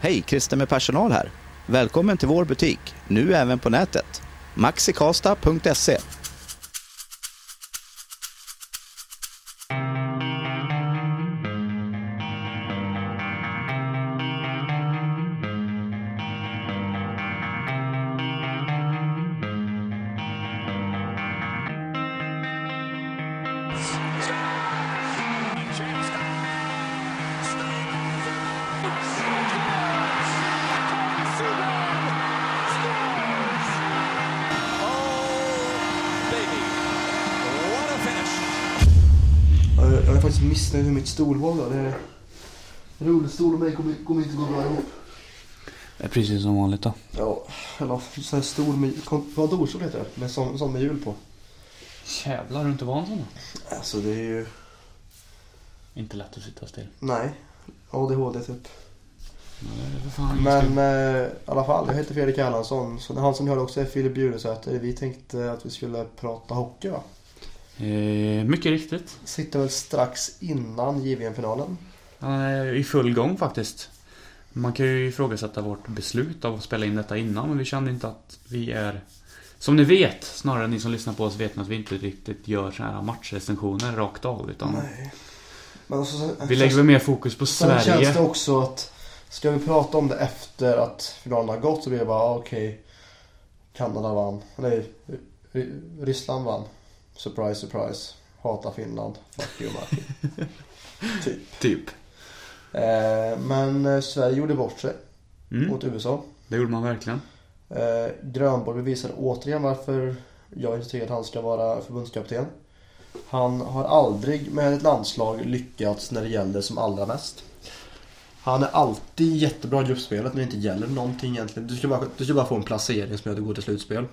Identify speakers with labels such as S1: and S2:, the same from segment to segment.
S1: Hej, Christer med personal här. Välkommen till vår butik, nu även på nätet. maxikasta.se
S2: Ja, Jag jag är faktiskt missnöjd med mitt stolval. då. Det är... Rullstol och mig kommer, kommer inte gå bra ihop.
S3: Det är precis som vanligt då.
S2: Ja, eller sån här stol med... kon- Kontorstol heter det. Med sån, sån med hjul på.
S3: Jävlar, är du inte van sån då?
S2: Alltså det är ju...
S3: Inte lätt att sitta still.
S2: Nej. ADHD typ.
S3: Nej, det är för fan
S2: Men eh, i alla fall, jag heter Fredrik Erlandsson. Så han som hör också är Filip Bjuresäter. Vi tänkte att vi skulle prata hockey va?
S3: eh, Mycket riktigt.
S2: Sitter väl strax innan JVM-finalen.
S3: Eh, I full gång faktiskt. Man kan ju ifrågasätta vårt beslut av att spela in detta innan, men vi kände inte att vi är... Som ni vet, snarare ni som lyssnar på oss vet att vi inte riktigt gör så här matchrecensioner rakt av. Utan
S2: Men alltså, sen,
S3: vi lägger väl mer fokus på
S2: sen känns det
S3: Sverige.
S2: också att... Ska vi prata om det efter att finalen har gått så blir det bara ah, okej. Kanada vann. Nej, Ry- Ryssland vann. Surprise, surprise. Hata Finland. Fuck you, Mark.
S3: Typ.
S2: eh, men eh, Sverige gjorde bort sig
S3: Mm,
S2: mot USA.
S3: det gjorde man verkligen.
S2: Eh, Grönborg bevisade återigen varför jag inte tycker att han ska vara förbundskapten. Han har aldrig med ett landslag lyckats när det gäller som allra mest. Han är alltid jättebra i gruppspelet när det inte gäller någonting egentligen. Du ska bara, du ska bara få en placering som gör att du går till slutspel.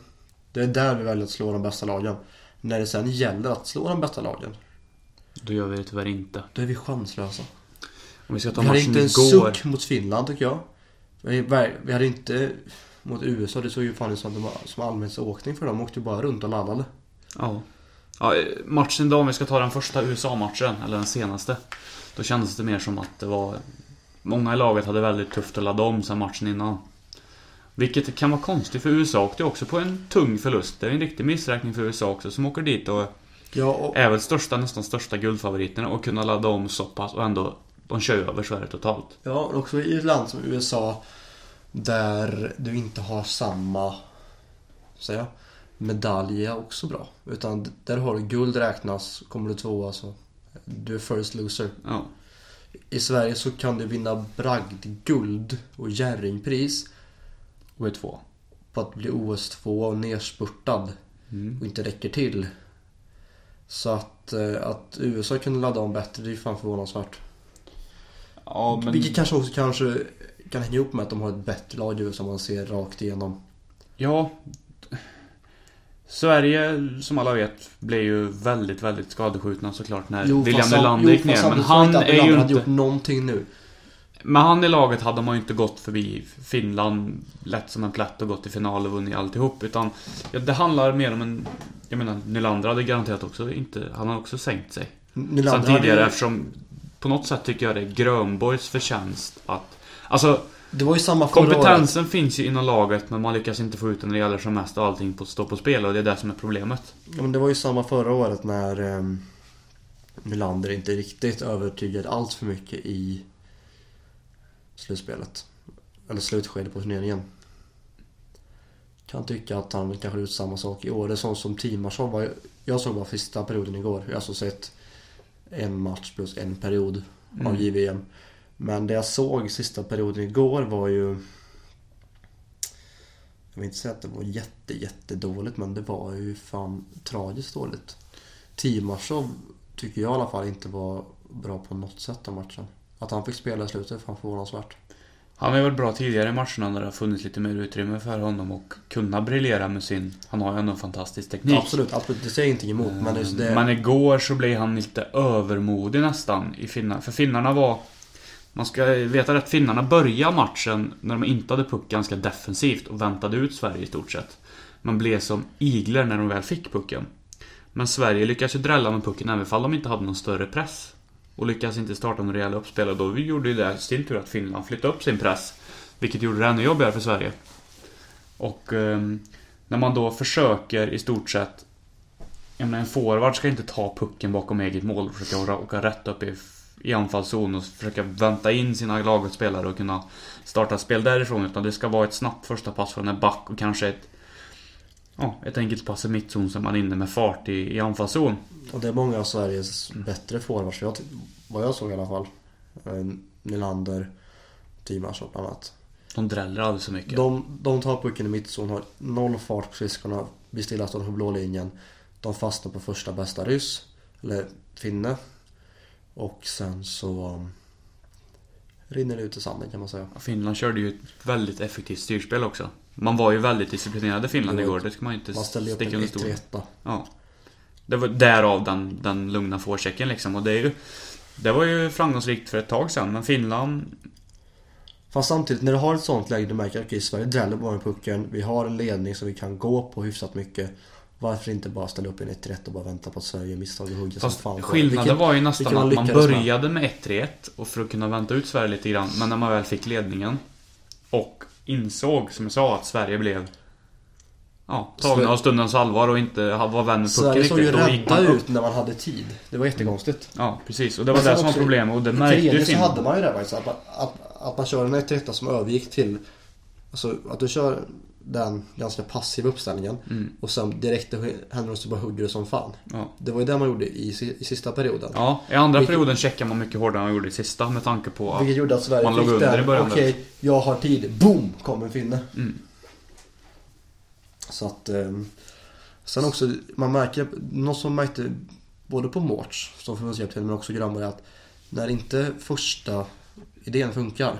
S2: Det är där vi väljer att slå de bästa lagen. När det sen gäller att slå de bästa lagen,
S3: Då gör vi det tyvärr inte.
S2: då är vi chanslösa.
S3: Om vi ska ta
S2: Vi hade
S3: matchen
S2: inte en
S3: igår.
S2: suck mot Finland tycker jag. Vi, var- vi hade inte mot USA. Det såg ju fan ut som, att de var- som allmänhetsåkning för dem. De åkte ju bara runt och landade.
S3: Ja. ja. eh, Matchen då, om vi ska ta den första USA-matchen, eller den senaste. Då kändes det mer som att det var... Många i laget hade väldigt tufft att ladda om sen matchen innan. Vilket kan vara konstigt för USA åkte ju också på en tung förlust. Det är ju en riktig missräkning för USA också som åker dit och
S2: Ja, och,
S3: är väl största, nästan största guldfavoriterna och kunna ladda om så pass och ändå... De kör ju över Sverige totalt.
S2: ja, och också i ett land som USA där du inte har samma säga, medalj är också bra. Utan där har du guld räknas, kommer du tvåa så du är first loser.
S3: Ja.
S2: I Sverige så kan du vinna bragdguld och gärringpris
S3: Och är två.
S2: på att bli OS2 och nerspurtad
S3: Mm.
S2: och inte räcker till. Så att, eh, att USA kunde ladda om bättre, det är ju fan förvånansvärt.
S3: Ja, men...
S2: Vilket kanske också kanske kan hänga ihop med att de har ett bättre lag i USA man ser rakt igenom.
S3: Ja. Sverige, som alla vet, blev ju väldigt, väldigt skadeskjutna såklart när William
S2: fast sam-
S3: Nylander gick
S2: fast
S3: ner. Men
S2: samtidigt tror jag
S3: han
S2: inte att
S3: är
S2: Nylander
S3: ju
S2: hade
S3: inte...
S2: gjort någonting nu.
S3: Med han i laget hade man ju inte gått förbi Finland lätt som en plätt och gått till final och vunnit alltihop. Utan ja, det handlar mer om en... Jag menar, Nylander hade garanterat också inte... Han har också sänkt sig.
S2: Nylander
S3: Sen tidigare
S2: hade ju,
S3: eftersom... På något sätt tycker jag det är Grönborgs förtjänst att... Alltså,
S2: Det var ju samma förra året.
S3: kompetensen finns ju inom laget men man lyckas inte få ut den när det gäller som mest och allting på, står på spel och det är det som är problemet.
S2: Ja, men det var ju samma förra året när ehm, Nylander inte riktigt övertygade allt för mycket i slutspelet. Eller slutskedet på turneringen. Kan tycka att han kanske har gjort samma sak i år. Det är sånt som Timarsson var. Jag såg bara sista perioden igår. Jag har alltså sett en match plus en period av JVM. Men det jag såg sista perioden igår var ju... Jag vill inte säga att det var jätte, jätte dåligt men det var ju fan tragiskt dåligt. Timarsson tycker jag i alla fall inte var bra på något sätt den matchen. Att han fick spela i slutet är fan förvånansvärt.
S3: Han har ju varit bra tidigare i matcherna när det har funnits lite mer utrymme för honom och kunna briljera med sin... Han har ju ändå en fantastisk teknik.
S2: Absolut, absolut. Det säger jag ingenting emot. Men det, det,
S3: Men igår så blev han lite övermodig nästan i finna, För finnarna var... Man ska veta att finnarna började matchen när de inte hade puck ganska defensivt och väntade ut Sverige i stort sett. Man blev som igler när de väl fick pucken. Men Sverige lyckades ju drälla med pucken även om de inte hade någon större press. Och lyckas inte starta med rejäla uppspel och då gjorde ju det i sin tur att Finland flyttade upp sin press. Vilket gjorde det ännu jobbigare för Sverige. Och ehm, när man då försöker i stort sett... Jag menar en forward ska inte ta pucken bakom eget mål och försöka åka rätt upp i, i anfallszon och försöka vänta in sina lagspelare och kunna starta spel därifrån. Utan det ska vara ett snabbt första pass från en back och kanske ett... Ja, ett enkelt pass i mittzon som man är inne med fart i, i anfallszon.
S2: Och det är många av Sveriges bättre forwards, jag ty- vad jag såg i alla fall. Eh, Nylander, Timas och bland annat.
S3: De dräller aldrig så mycket.
S2: De, de tar pucken i mittzon, har noll fart på skridskorna, blir stillastående på blå linjen. De fastnar på första bästa ryss, eller finne. Och sen så um, rinner det ut i sanden kan man säga.
S3: Finland körde ju ett väldigt effektivt styrspel också. Man var ju väldigt disciplinerade i Finland
S2: Jo,
S3: igår, det ska man ju inte
S2: Man ställer ju upp
S3: sticka
S2: en E
S3: under stol.
S2: yttre etta.
S3: Ja. Det var därav den, den lugna forechecken liksom. Och det, är ju, det var ju framgångsrikt för ett tag sedan, men Finland...
S2: Fast samtidigt när du har ett sånt läge du märker att okej, Sverige dräller bara med pucken. Vi har en ledning som vi kan gå på hyfsat mycket. Varför inte bara ställa upp en 1 rätt och bara vänta på att Sverige gör misstag och hugger
S3: Fast
S2: på det?
S3: skillnaden
S2: Vilken-
S3: var ju nästan
S2: vilken man
S3: att man
S2: lyckades med.
S3: började med 1-3-1 och för att kunna vänta ut Sverige lite grann. Men när man väl fick ledningen och insåg, som jag sa, att Sverige blev... Ja, tagna
S2: Sverige-
S3: av stundens allvar och inte var vän med pucken
S2: Sverige såg ju
S3: riktigt. Då gick
S2: rädda
S3: man upp. Mm.
S2: ut när man hade tid. Det var jättekonstigt.
S3: Ja, precis. Och det var
S2: Men sen
S3: det som var
S2: också i-
S3: problemet och det
S2: I
S3: märkte ju
S2: tredje så
S3: Finland.
S2: hade man ju det faktiskt. Att, man- att, att man kör en 1 rätta som övergick till... Alltså att du kör den ganska passiva uppställningen
S3: Mm.
S2: och sen direkt händer det så bara hugger du som fan.
S3: Ja.
S2: Det var ju det man gjorde i, si- i sista perioden.
S3: ja, i andra
S2: Vilket-
S3: perioden checkar man mycket hårdare än man gjorde i sista med tanke på att...
S2: Vilket gjorde att Sverige
S3: Man låg
S2: fick
S3: under
S2: den,
S3: i början
S2: okej,
S3: där.
S2: jag har tid, boom, kom en finne.
S3: Mm.
S2: Så att... ehm, sen också, man märker, något som man märkte både på Mårts som förbundskapten men också Granberg att när inte första idén funkar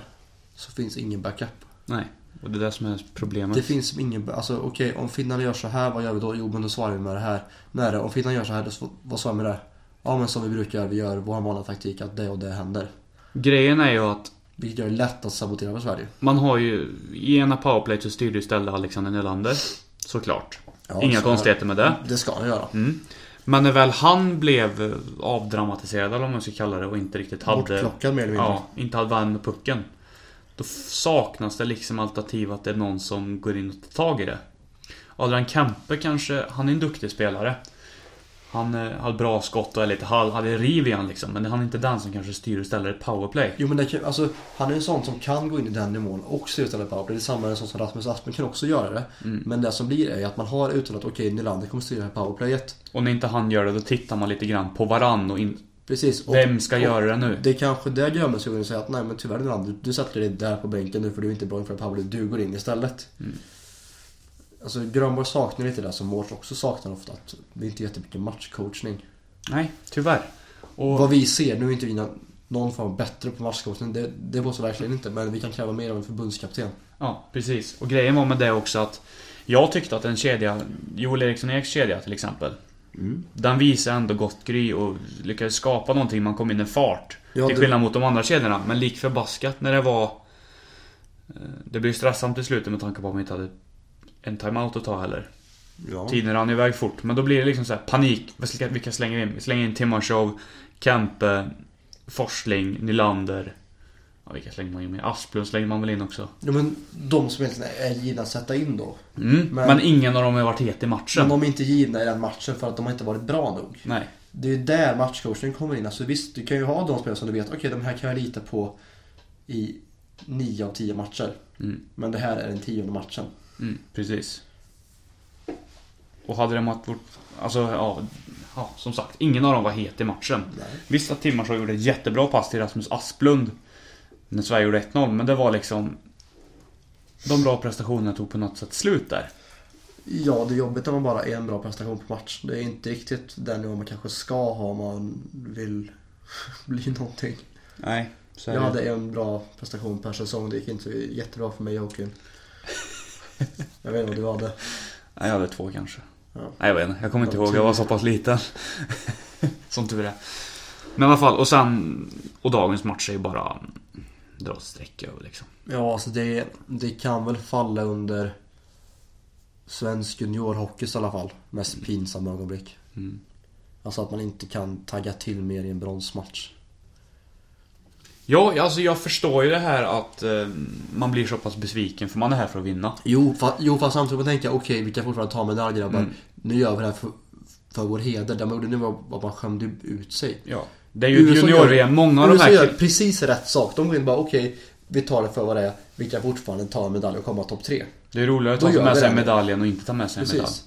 S2: så finns ingen backup.
S3: Nej, och det är det som är problemet.
S2: Det finns ingen, alltså okej om finnarna gör så här, vad gör vi då? Jo men då svarar vi med det här. Nej, om finnarna gör så här, då, sv- vad svarar vi med det? Ja men som vi brukar, vi gör vår vanliga taktik att det och det händer.
S3: Grejen är ju att
S2: Vilket gör det lätt att sabotera för Sverige.
S3: man har ju... I ena powerplay så styrde ju stället Alexander Nylander. Såklart.
S2: Ja,
S3: Inga
S2: så-
S3: konstigheter med det.
S2: Det ska jag göra.
S3: Mm. Men när väl han blev eh, avdramatiserad eller vad man ska kalla det och inte riktigt hade...
S2: Bortplockad mer eller mindre.
S3: Ja, inte hade värn med pucken. Då f- saknas det liksom alternativ att det är någon som går in och tar tag i det. Adrian Kempe kanske, han är en duktig spelare. Han eh, hade bra skott och är lite halv, hade riv i han liksom. Men han är inte den som kanske styr och ställer ett powerplay.
S2: Jo men det kan, alltså, han är en sån som kan gå in i den nivån och se ut powerplay. Det är samma en sån som Rasmus Aspen kan också göra det.
S3: Mm.
S2: Men det som blir är ju att man har uttalat okej Nylander kommer styra det här powerplayet.
S3: Och när inte han gör det, då tittar man lite grann på varann och in,
S2: Precis. Och,
S3: Vem ska
S2: och
S3: göra det nu?
S2: Det är kanske det Gömelsugaren säger att nej men tyvärr Nylander, du sätter dig där på bänken nu för du är inte bra inför powerplay. Du går in istället.
S3: Mm.
S2: Alltså Grönborg saknar lite det som Mårts också saknar ofta. Att det är inte jättemycket matchcoachning.
S3: Nej, tyvärr. Och,
S2: Vad vi ser, nu är inte vi nå- någon form bättre på matchcoachning. Det, det var så verkligen inte. Men vi kan kräva mer av en förbundskapten.
S3: Ja, precis. Och grejen var med det också att jag tyckte att en kedja, Joel Eriksson Eks kedja till exempel.
S2: Mm.
S3: Den visade ändå gott gry och lyckades skapa någonting, man kom in i fart.
S2: Ja,
S3: till
S2: det-
S3: skillnad mot de andra kedjorna, men lik förbaskat när det var... eh, Det blev stressande till slutet med tanke på att man inte hade en timeout att ta heller.
S2: Ja.
S3: Tiden rann iväg fort, men då blir det liksom så här panik. Vilka, vilka slänger vi in? Vi slänger in Timashov, Kempe, Forsling, Nylander. Ja, vilka slänger man in? Asplund slänger man väl in också?
S2: Ja, men de som egentligen är givna att sätta in då.
S3: Mm, men,
S2: Men-
S3: ingen av dem har varit het i matchen.
S2: Men de är inte givna i den matchen för att de har inte varit bra nog.
S3: Nej.
S2: Det är ju där matchcoachningen kommer in. Alltså visst, du kan ju ha de spelare som du vet, okej de här kan jag lita på i 9 av 10 matcher.
S3: Mm.
S2: Men det här är den tionde matchen.
S3: Mm, precis. Och hade det varit... vårt- Alltså, ja, ja. Som sagt, ingen av dem var het i matchen.
S2: Nej.
S3: Visst att Timmersson gjorde ett jättebra pass till Rasmus Asplund när Sverige gjorde 1-0, men det var liksom... De bra prestationerna tog på något sätt slut där.
S2: Ja, det är jobbigt när man bara är en bra prestation på match. Det är inte riktigt den nivån man kanske ska ha om man vill bli någonting.
S3: Nej, så
S2: Jag hade en bra prestation per säsong. Det gick inte jättebra för mig i hockeyn. Jag vet inte vad du hade.
S3: Nej, jag hade två kanske.
S2: Ja.
S3: Nej, jag vet inte. Jag kommer inte
S2: Ja,
S3: ihåg. Jag
S2: tur.
S3: var så pass liten. Som tur är. Men i alla fall, och sen... Och dagens match är ju bara... Dra ett streck över liksom.
S2: Ja, alltså det, det kan väl falla under svensk juniorhockeys i alla fall. Mest pinsamma ögonblick.
S3: Mm.
S2: Alltså att man inte kan tagga till mer i en bronsmatch.
S3: Ja, alltså jag förstår ju det här att eh, man blir så pass besviken för man är här för att vinna.
S2: Jo, fa- jo fast samtidigt får man tänka, okej vi kan fortfarande ta medalj grabbar. Nu gör vi det här för, för vår heder. Det man gjorde nu var att man skämde ut sig.
S3: Ja. Det är ju ett junior-VM. Många av de
S2: USA
S3: här...
S2: gör precis rätt sak. De går in och bara okej, vi tar det för vad det är. Vi kan fortfarande ta en medalj och komma topp tre.
S3: Det är roligare att
S2: Då
S3: ta
S2: gör
S3: med
S2: vi
S3: sig
S2: det.
S3: medaljen och inte ta med sig en medalj.
S2: Precis.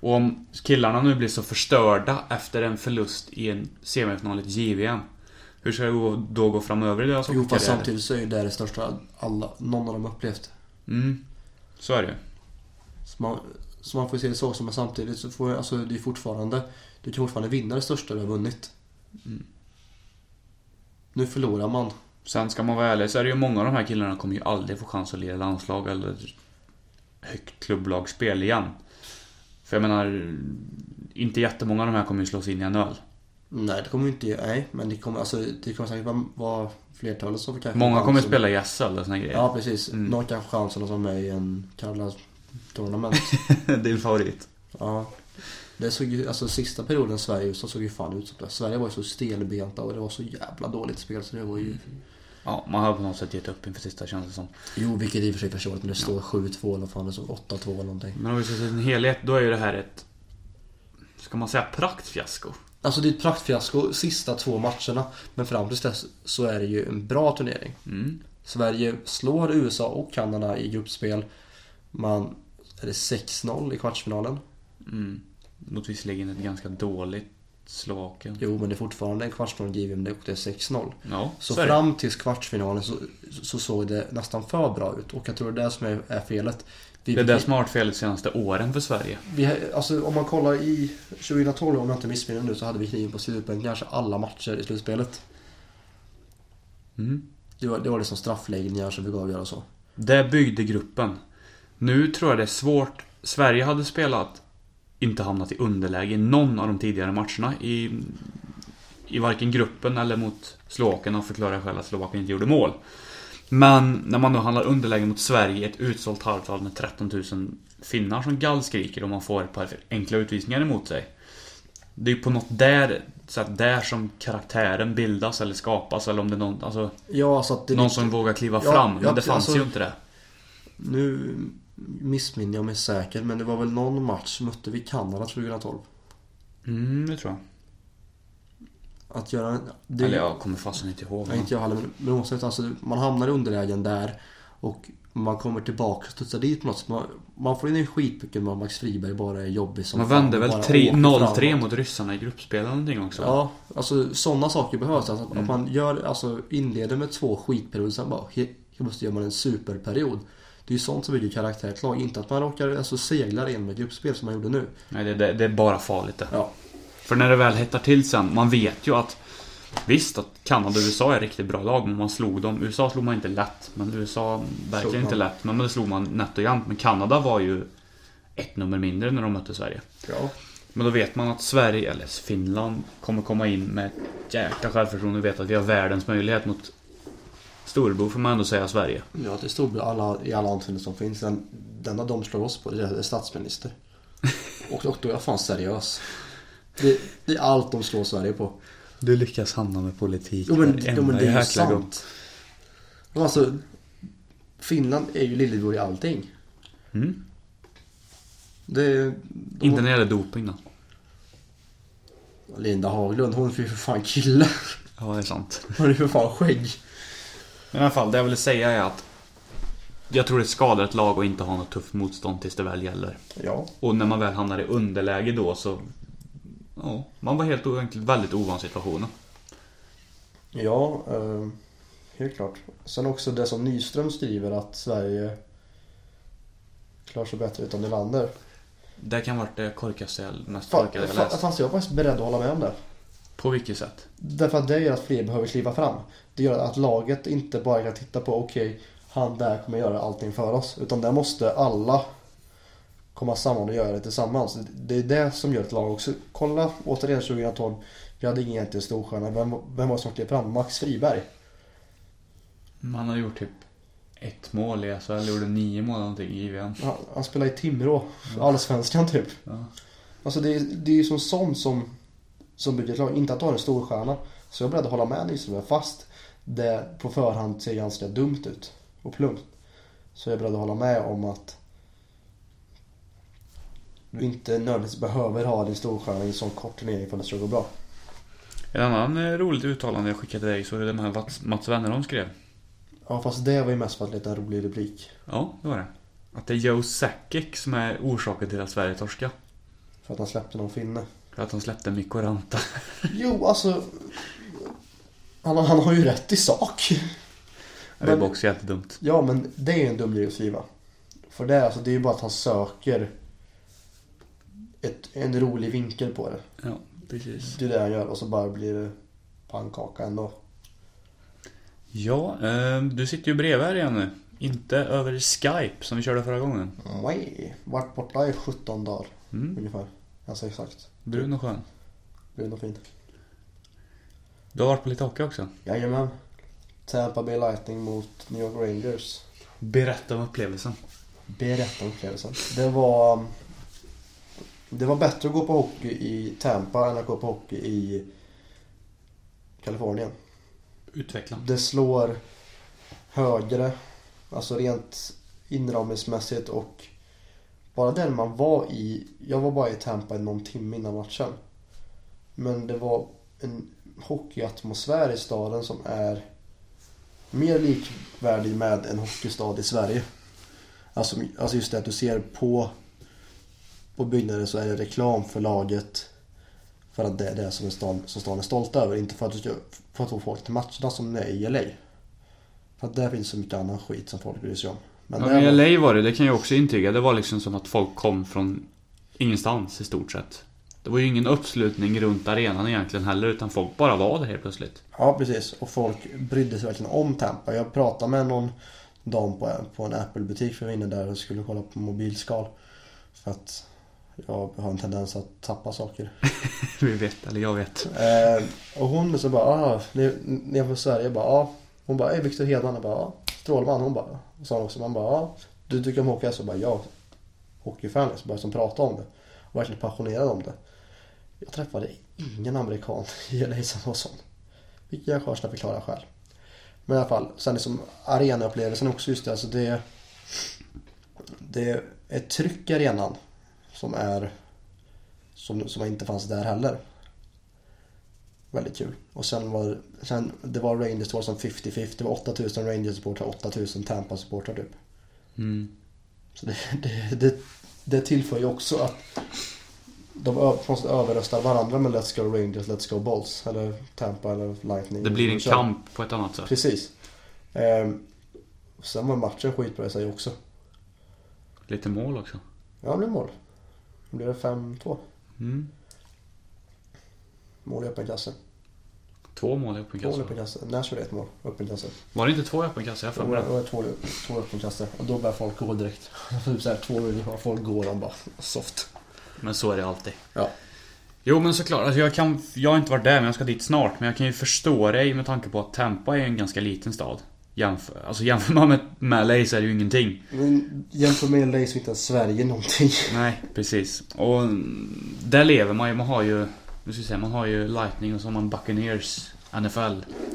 S3: Och om killarna nu blir så förstörda efter en förlust i en semifinal i ett JVM. Hur ska det gå- då gå framöver i deras
S2: Jo fast
S3: karriärer?
S2: samtidigt så är ju det det största alla, någon av dem upplevt.
S3: Mm. Så är det ju.
S2: Så man, så man får se det så. som- Men samtidigt så får alltså, det är fortfarande, du kan fortfarande vinna det största du har vunnit.
S3: Mm.
S2: Nu förlorar man.
S3: Sen ska man vara ärlig så är det ju många av de här killarna kommer ju aldrig få chans att leda landslag eller högt klubblagsspel igen. För jag menar, inte jättemånga av de här kommer ju slås in i en öl.
S2: Nej, det kommer ju inte... Nej, men det kommer, alltså, det kommer säkert vara, vara flertalet som kanske...
S3: Många kommer
S2: som-
S3: spela Mm. i SL och såna grejer.
S2: Ja, precis. Någon kanske chansen att vara med i en Karlas tournament.
S3: Din favorit.
S2: ja. Det såg ju, alltså sista perioden Sverige så såg ju fan ut som det. Sverige var ju så stelbenta och det var så jävla dåligt spel så det var
S3: Mm.
S2: ju...
S3: Ja, man har på något sätt gett upp inför sista känns det som.
S2: Jo, vilket i och för sig försvarligt men det står 7-2 eller fan det stod 8-2 eller någonting.
S3: Men om vi ska se en helhet, då är ju det här ett... Ska man säga praktfiasko?
S2: Alltså det är ett praktfiasko sista två matcherna. Men fram tills dess så är det ju en bra turnering.
S3: Mm.
S2: Sverige slår USA och Kanada i gruppspel. Man är det 6-0 i kvartsfinalen.
S3: Mm. Mot visserligen ett ganska dåligt Slovakien.
S2: Jo, men det är fortfarande en kvartsfinal i JVM och det är 6-0.
S3: Ja,
S2: Så
S3: så är det.
S2: fram tills kvartsfinalen så, så såg det nästan för bra ut. Och jag tror det är det som är, är felet. Vi,
S3: Det är det som har varit fel de senaste åren för Sverige.
S2: vi, alltså, om man kollar i 2012, om jag inte missminner nu, så hade vi kniven på slutspelen kanske alla matcher i slutspelet.
S3: Mm.
S2: Det var, det var liksom straffläggningar som fick avgöra och så.
S3: Det byggde gruppen. Nu tror jag det är svårt. Sverige hade spelat, inte hamnat i underläge i någon av de tidigare matcherna i, i varken gruppen eller mot Slovakien och förklarar själv att Slovakien inte gjorde mål. Men när man nu handlar underläge mot Sverige, ett utsålt halvtal med 13 000 finnar som gallskriker och man får ett par enkla utvisningar emot sig. Det är ju på något där, så att där som karaktären bildas eller skapas eller om det är någon, alltså,
S2: Ja, så att det,
S3: någon som vågar kliva
S2: Ja,
S3: fram. Men
S2: ja,
S3: det fanns
S2: alltså-
S3: ju inte det.
S2: Nu missminner jag mig säkert, men det var väl någon match mötte vi Kanada 2012.
S3: Mm, det tror jag.
S2: Att göra en... Det,
S3: Eller jag kommer fasen inte ihåg.
S2: Nej, inte jag heller, men- men oavsett. Alltså, man hamnar i underlägen där och man kommer tillbaka och studsar dit på något sätt. Man, man får in en skitpucken med att Max Friberg bara är jobbig som
S3: Man
S2: fan,
S3: vände väl
S2: bara
S3: tre-
S2: åker
S3: 0-3
S2: framåt.
S3: mot ryssarna i gruppspel eller någonting också.
S2: Ja, alltså sådana saker behövs. Alltså, Att man gör, alltså, inleder med två skitperioder, sen bara helt helt plötsligt gör man en superperiod. Det är ju sånt som bygger karaktär ett lag. Inte att man råkar alltså, seglar in med gruppspel som man gjorde nu.
S3: Nej, det, det, det är bara farligt det.
S2: Ja,
S3: För när det väl hettar till sen, man vet ju att Visst att Kanada och USA är riktigt bra lag, men man slog dem. USA slog man inte lätt, men USA verkligen
S2: Slog
S3: inte
S2: man.
S3: lätt. Men men det slog man nätt och jämnt. Men Kanada var ju ett nummer mindre när de mötte Sverige.
S2: ja.
S3: Men då vet man att Sverige, eller Finland, kommer komma in med ett jäkla självförtroende och vet att vi har världens möjlighet mot Storbo, får man ändå säga, Sverige.
S2: Ja, det stod väl alla, i alla ansikten som finns. Den, den där de slår oss på, det är statsminister. Och, och då är jag fan seriös. Det, det är allt de slår Sverige på.
S3: Du lyckas hamna med politik
S2: Jo men, jo, men det är ju sant. Men alltså, Finland är ju lillebror i allting.
S3: Mm.
S2: Det är, de,
S3: Inte när det gäller doping då.
S2: Linda Haglund, hon är ju för fan kille.
S3: Ja, det är sant.
S2: Hon är ju för fan skägg.
S3: Men i alla fall, det jag ville säga är att jag tror det skadar ett lag att inte ha något tufft motstånd tills det väl gäller.
S2: Ja.
S3: Och när man väl hamnar i underläge då så... Ja, man var helt enkelt väldigt ovan situationen.
S2: Ja, eh, helt klart. Sen också det som Nyström skriver att Sverige klarar sig bättre utan Nylander.
S3: Det kan varit det korkaste, jag- mest
S2: Fan,
S3: korkade jag
S2: fan,
S3: läst.
S2: fast jag är faktiskt beredd att hålla med om det.
S3: På vilket sätt?
S2: Därför att det gör att fler behöver kliva fram. Det gör att laget inte bara kan titta på okej, han där kommer göra allting för oss. Utan där måste alla komma samman och göra det tillsammans. Det är det som gör ett lag också. Kolla återigen 2012. Vi hade ingen egentligen storstjärna. Vem, vem var det som klev fram? Max Friberg.
S3: Man har gjort typ ett mål i SHL, gjorde nio mål någonting i JVM.
S2: Han, han spelar i Timrå. Allsvenskan typ.
S3: Ja.
S2: Alltså det, är- det är ju som sånt som, som bygger ett lag. Inte att ha en storstjärna. Så jag är beredd att hålla med Nyström. Fast det på förhand ser ganska dumt ut och plumpt. Så jag är beredd att hålla med om att du inte nödvändigtvis behöver ha din storstjärna i en sån kort turnering för att det ska gå bra.
S3: En annan eh, roligt uttalande jag skickade iväg så är det med vad Mats Wennerholm skrev.
S2: Ja fast det var ju mest för att leta en rolig rubrik.
S3: Ja, det var det. Att det är Joe Sakic som är orsaken till att Sverige torska.
S2: För att han släppte någon finne.
S3: För att han släppte Mikko Ranta.
S2: Jo alltså. Han, har- han har ju rätt i sak.
S3: Det var
S2: Men-
S3: också jättedumt.
S2: Ja, men det är ju en dum grej att skriva. För det, är alltså, det är ju bara att han söker ett, en rolig vinkel på det.
S3: Ja, precis.
S2: Det är det han gör och så bara blir det pannkaka ändå.
S3: Ja, eh, du sitter ju bredvid här igen nu. Inte över Skype som vi körde förra gången.
S2: Nej, Vart borta i 17 dagar
S3: Mm.
S2: ungefär. Alltså exakt.
S3: Brun och skön.
S2: Brun och fin.
S3: Du har varit på lite hockey också.
S2: Jajamän. Tampa Bay Lightning mot New York Rangers.
S3: Berätta om upplevelsen.
S2: Berätta om upplevelsen. Det var... Det var bättre att gå på hockey i Tampa än att gå på hockey i Kalifornien.
S3: Utveckla.
S2: Det slår högre, alltså rent inramningsmässigt och bara den man var i. Jag var bara i Tampa i någon timme innan matchen. Men det var en hockeyatmosfär i staden som är mer likvärdig med en hockeystad i Sverige. Alltså, alltså just det att du ser på, på byggnaden så är det reklam för laget. För att det är det som, är stan, som stan är stolt över. Inte för att, du ska, för att få folk till matcherna som det är i LA. För att där finns så mycket annan skit som folk bryr sig om. Men
S3: Ja,
S2: där var-
S3: men LA var det, det kan jag också intyga. Det var liksom som att folk kom från ingenstans i stort sett. Det var ju ingen uppslutning runt arenan egentligen heller, utan folk bara var där helt plötsligt.
S2: Ja, precis. Och folk brydde sig verkligen om Tampa. Jag pratade med någon dam på, på en Apple-butik för vi var inne där och skulle kolla på mobilskal. För att jag har en tendens att tappa saker.
S3: Vi vet, eller jag vet.
S2: Eh, och hon så bara, ah, ni, ni är från Sverige? Jag bara, ah. Hon bara, är Viktor Hedman? Jag bara, ah. Strålman? Hon bara, och så hon också, man bara, ah. Du tycker om hockey? Jag så bara, ja. Hockeyfan liksom, bara som pratar om det. Och verkligen passionerad om det. Jag träffade ingen amerikan i LA som var sån. Vilket jag kanske ska förklara själv. Men i alla fall, sen liksom arenaupplevelsen också just det, alltså det. Det är ett tryck i arenan som är som, som inte fanns där heller. Väldigt kul. Och sen var, sen, det var Rangers det var som 50-50. Det var 8000 Rangers-supportrar 8000 Tampa-supportrar typ.
S3: Mm.
S2: Så det, det, det, det tillför ju också att de ö- på något sätt överröstar varandra med Let's Go Rangers, Let's Go Balls. Eller Tampa eller Lightning.
S3: Det blir en
S2: Kör.
S3: kamp på ett annat sätt.
S2: Precis. Ehm, och sen var matchen skitbra i sig också.
S3: Lite mål också.
S2: Ja, det blev mål. Det blev 5-2.
S3: Mm.
S2: Mål i öppen kasse.
S3: Två mål i öppen
S2: Två mål i
S3: kasse.
S2: öppen kasse. Nashville är ett mål i öppen kasse.
S3: Var det inte två i öppen kasse? Jag har för
S2: Och
S3: mig det.
S2: och två, två öppenkaster. Och då börjar folk gå direkt. Typ såhär två minuter folk går och bara soft.
S3: Men så är det alltid.
S2: Ja.
S3: Jo men såklart, alltså jag, kan, jag har inte varit där men jag ska dit snart. Men jag kan ju förstå dig med tanke på att Tampa är en ganska liten stad. Jämför, alltså jämför man med, med LA så är det ju ingenting.
S2: Men jämför med LA så är inte ens Sverige någonting.
S3: Nej, precis. Och mm, där lever man ju. Man har ju, nu ska jag säga, man har ju Lightning och så har man Buccaneers NFL.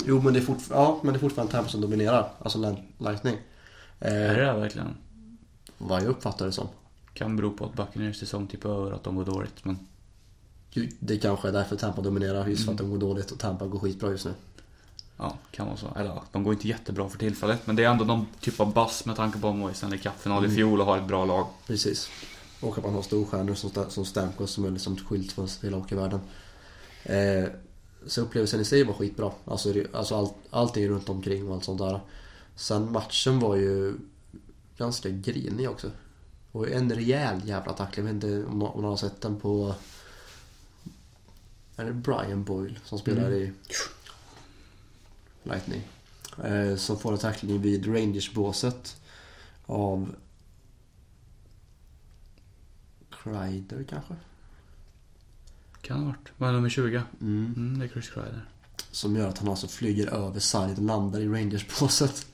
S2: Jo men det är, fortfar- ja, men det är fortfarande Tampa som dominerar. Alltså Lan- Lightning.
S3: Är
S2: Eh,
S3: det där verkligen?
S2: vad jag uppfattar det som.
S3: Kan bero på att Buccaneers säsong typ över att de går dåligt. Men
S2: Ju- Det kanske är därför Tampa dominerar. Just för att de går dåligt och Tampa går skitbra just nu.
S3: ja, kan vara så. Eller ja, de går inte jättebra för tillfället. Men det är ändå någon typ av bass med tanke på att de var i Stanley Cup-final i
S2: Mm.
S3: fjol och har ett bra lag.
S2: Precis. Och att man har storstjärnor som, Sta- som Stamkos som är liksom skilt från hela hockeyvärlden. Eh, så upplevelsen i sig var skitbra. Alltså, det- alltså all, allting runt omkring och allt sånt där. Sen matchen var ju ganska grinig också. Och en rejäl jävla tackling. Jag vet inte om någon, om någon har sett den på... Är det Brian Boyle som spelar i Lightning? Eh, som får en tackling vid Rangers-båset av Kreider kanske?
S3: Kan ha varit. Vad är nummer 20?
S2: Mm.
S3: Mm, det är Chris Kreider.
S2: Som gör att han alltså flyger över sargen och landar i Rangers-båset.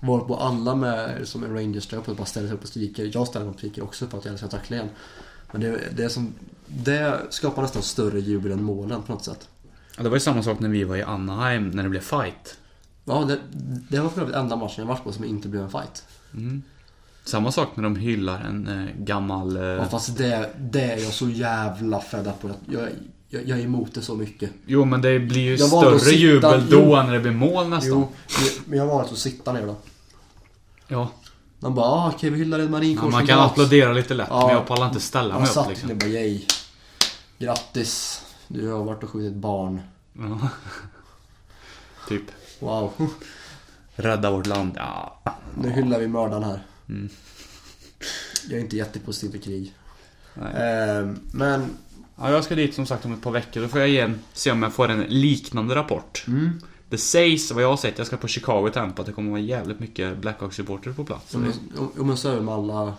S2: Varpå alla med, som är Rangers-tröjor bara ställer sig upp och skriker. Jag ställer mig upp och skriker också för att jag älskar tacklingen. Men det, det, är som, det skapar nästan större jubel än målen på något sätt.
S3: Ja, Det var ju samma sak när vi var i Anaheim när det blev fight.
S2: Ja, det, det var för övrigt enda matchen jag varit på som inte blev en fight.
S3: Samma sak när de hyllar en eh, gammal... Eh,
S2: Ja, fast det, det är jag så jävla fed up på. Jag, jag, jag är emot det så mycket.
S3: Jo men det blir ju
S2: Jag valde att
S3: större
S2: sitta-
S3: jubel
S2: jo.
S3: då än när det blir mål nästan.
S2: Jo, men- men jag har valt att sitta ner då.
S3: Ja.
S2: De bara, ah, okej vi hyllar Ed Marinkors
S3: Ja, man
S2: som
S3: kan
S2: drafts."
S3: applådera lite lätt
S2: Ja.
S3: men jag pallar inte ställa
S2: Han
S3: mig upp
S2: satt liksom.
S3: liksom.
S2: och bara, yay. Grattis. Du har varit och skjutit barn.
S3: Ja. typ.
S2: Wow.
S3: Rädda vårt land. Ja.
S2: Nu hyllar vi mördaren här. Jag är inte jättepositiv till krig.
S3: Nej.
S2: Eh, men
S3: ja. Jag ska dit som sagt om ett par veckor. Då får jag igen, se om jag får en liknande rapport. Det sägs, vad jag har sett, jag ska på Chicago Tempo att det kommer vara jävligt mycket Blackhawks-supportrar på plats. Så
S2: om
S3: det-
S2: om- om man så är det med alla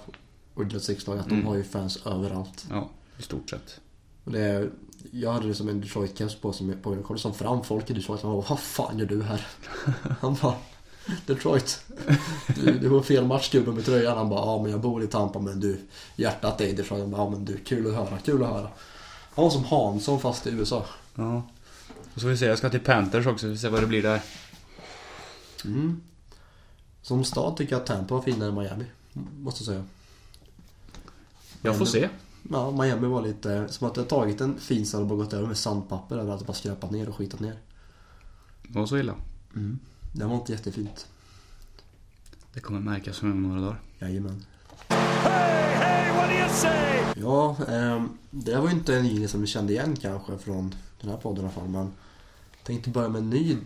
S2: ordinatsriksdagar att de har ju fans överallt.
S3: Ja, i stort sett.
S2: Och det är, jag hade det som en Detroit-keps på som på min koll som fram folk i Detroit. Han bara, vad fan gör du här? Han bara, Detroit. Du, du var fel matchgubbe med tröjan. Han bara, ja men jag bor i Tampa men du, hjärtat är i Detroit. Han bara, ja men du, kul att höra, kul att höra. Han var som Hansson fast i USA.
S3: Ja. Och så får vi se, jag ska till Panthers också, så vi får se vad det blir där.
S2: Som stad tycker jag att Tampa var finare än Miami. Måste jag säga.
S3: Jag får se.
S2: Ja, Miami var lite som att jag tagit en fin stad och bara gått över med sandpapper överallt och bara skrapat ner och skitat ner.
S3: Det var så illa.
S2: Det var inte jättefint.
S3: Det kommer märkas om några dagar.
S2: Jajamän.
S4: Hey, what do you say?
S2: Ja, ehm, det var ju inte en linje som vi kände igen kanske från den här podden i alla fall. Men jag tänkte börja med en ny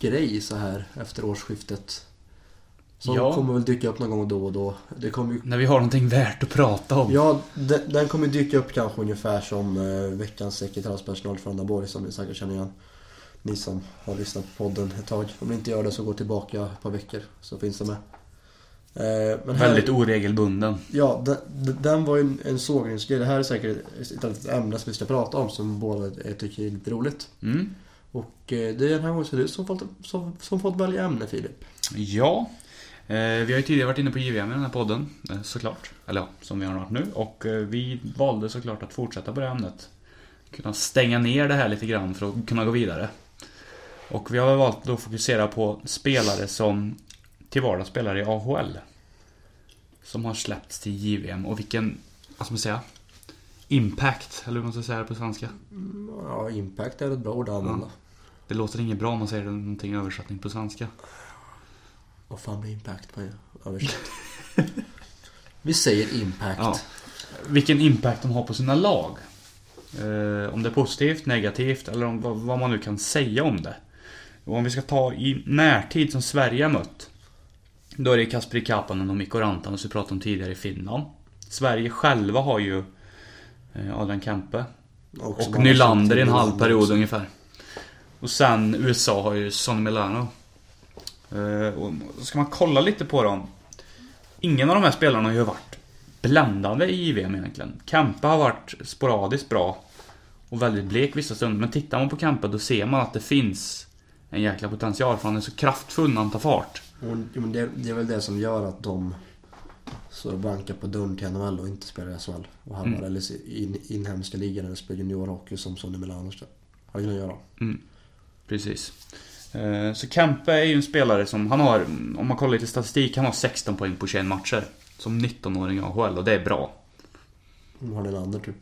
S2: grej så här efter årsskiftet. Som
S3: Ja.
S2: kommer väl dyka upp någon gång då och då. Det kommer ju...
S3: När vi har någonting värt att prata om.
S2: Ja, den, den kommer dyka upp kanske ungefär som eh, veckans sekretariatspersonal från Andaborg som ni säkert känner igen. Ni som har lyssnat på podden ett tag. Om ni inte gör det så gå tillbaka ett par veckor så finns det med. Eh, men här-
S3: Väldigt oregelbunden.
S2: Ja, den, den var ju en, en sågningsgrej. Det här är säkert ett, ett, annat ämne som vi ska prata om som båda eh, tycker är lite roligt.
S3: Mm.
S2: Och eh, det är den här gången så är det du som fått, som, som fått välja ämne Filip.
S3: Ja. Eh, vi har ju tidigare varit inne på JVM i den här podden, eh, såklart. Eller ja, som vi har varit nu. Och eh, vi valde såklart att fortsätta på det ämnet. Kunna stänga ner det här lite grann för att kunna gå vidare. Och vi har valt då att fokusera på spelare som till vardags spelar i AHL. Som har släppts till JVM och vilken, vad ska man säga? Impact, eller hur man ska säga det på svenska.
S2: Ja, impact är ett bra ord att använda.
S3: Det låter inget bra om man säger det- någonting i översättning på svenska.
S2: Vad fan blir impact på översättning? vi säger impact.
S3: Ja. Vilken impact de har på sina lag. Eh, om det är positivt, negativt eller om, vad, vad man nu kan säga om det. Och om vi ska ta i närtid som Sverige har mött. Då är det Kasperi Kapanen och Mikko Rantanen som vi pratade om tidigare i Finland. Sverige själva har ju eh, Adrian Kempe
S2: Också
S3: och
S2: bara-
S3: Nylander i en halv period ungefär. Och sen USA har ju Sonny Milano. Eh, och ska man kolla lite på dem. Ingen av de här spelarna har ju varit bländande i JVM egentligen. Kempe har varit sporadiskt bra. Och väldigt blek vissa stunder. Men tittar man på Kempe då ser man att det finns en jäkla potential. För han är så kraftfull när han tar fart.
S2: Och, jo, men det, det är väl det som gör att de står och bankar på dörren till NHL och inte spelar i SHL. Och halvar eller i in, inhemska ligan eller spelar juniorhockey som Sonny Milano har kunnat göra.
S3: Mm. Precis. Eh, Så Kempe är ju en spelare som, han har, om man kollar lite statistik, han har 16 poäng på 21 matcher. Som 19-åring i AHL och det är bra.
S2: De har Nylander typ.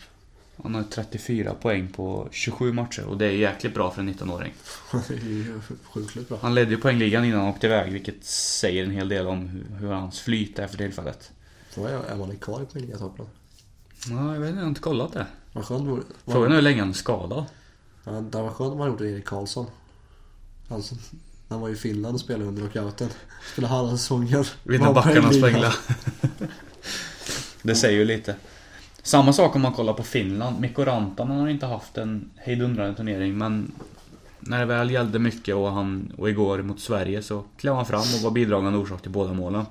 S3: Han har 34 poäng på 27 matcher och det är jäkligt bra för en 19-åring.
S2: Det är ju Sjukligt bra.
S3: Han ledde ju poängligan innan han åkte iväg, vilket säger en hel del om hur, hur hans flyt är för tillfället.
S2: Frågan är, är man kvar i poängligatoppen?
S3: Ja, jag vet inte, jag har inte kollat det.
S2: Vad skönt vore- vad-
S3: Frågan är hur länge han är skadad.
S2: Ja, Det var skönt om man gjort det Erik Karlsson. Han, som- han var ju i Finland och spelade under lockouten. Spelade halva säsongen.
S3: Vinna
S2: Var
S3: backarna
S2: poängligan.
S3: sprängla. det säger ju lite. Samma sak om man kollar på Finland. Mikko Rantanen har inte haft en hejdundrande turnering men när det väl gällde mycket och, han, och igår mot Sverige så klev han fram och var bidragande orsak till båda målen.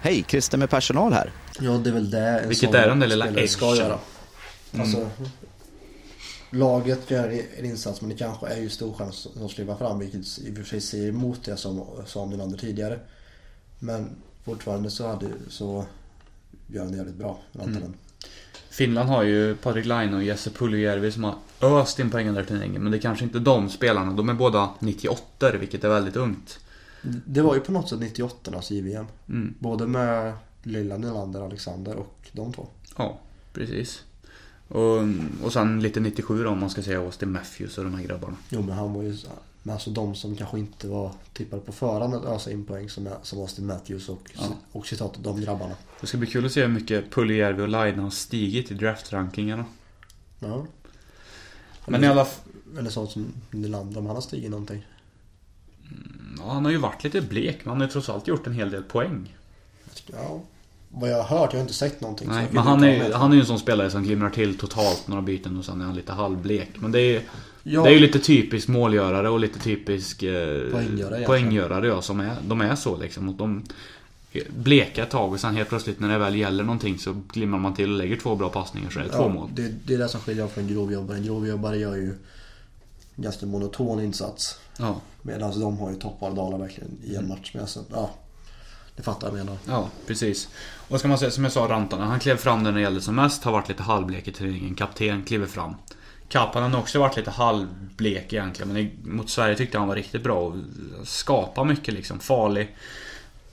S1: Hej, Christer med personal här.
S2: Ja, det är väl det en
S3: Vilket
S2: sån
S3: är den där lilla
S2: spelare ska
S3: edgen.
S2: göra. Alltså, laget gör en insats men det kanske är ju storstjärnan som som skriver fram vilket i och för sig säger emot det som som Nylander tidigare. Mm. Men fortfarande så, hade, så gör han det jävligt bra, Rantanen.
S3: Finland har ju Patrik Laine och Jesse Puljujärvi som har öst in poäng under turneringen. Men det är kanske inte de spelarna. De är båda 98 vilket är väldigt ungt.
S2: Det var ju på något sätt 98-ornas JVM.
S3: Mm.
S2: Både med lilla Nylander, Alexander och de två.
S3: Ja, precis. Och, och sen lite 97 då om man ska säga Austin Matthews och de här grabbarna.
S2: Jo men han var ju så- men alltså de som kanske inte var tippade på förhand att ösa in poäng som, är- som Austin Matthews och,
S3: Ja.
S2: och citat de grabbarna.
S3: Det ska bli kul att se hur mycket Puljujärvi och Laine har stigit i draftrankingarna.
S2: Ja.
S3: Men i alla f-
S2: Eller sånt som Nylander om han har stigit någonting.
S3: ja, han har ju varit lite blek men han har ju trots allt gjort en hel del poäng.
S2: Ja. Vad jag har hört, jag har inte sett någonting. så
S3: Nej,
S2: jag
S3: men
S2: vet
S3: han
S2: inte
S3: är,
S2: vad
S3: ju-
S2: med.
S3: han är ju en sån spelare som glimrar till totalt några byten och sen är han lite halvblek. Men det är,
S2: Ja.
S3: det är ju lite typisk målgörare och lite typisk eh,
S2: Poänggörare,
S3: poänggörare ja, som är, de är så liksom. Och de blekar ett tag och sen helt plötsligt när det väl gäller någonting så glimmar man till och lägger två bra passningar så är det två mål.
S2: Det, det är det som skiljer från grovjobbare. En grovjobbare gör ju ganska monoton insats.
S3: Ja,
S2: Medan de har ju toppar och dalar verkligen i
S3: Mm.
S2: en match. Men alltså, ja, det fattar jag menar.
S3: ja, precis. Och ska man säga som jag sa Rantanen, han klev fram när det gällde som mest, har varit lite halvblek i turneringen. Kapten kliver fram. Kappanen har också varit lite halvblek egentligen, men i- mot Sverige tyckte jag han var riktigt bra och skapar mycket liksom. Farlig.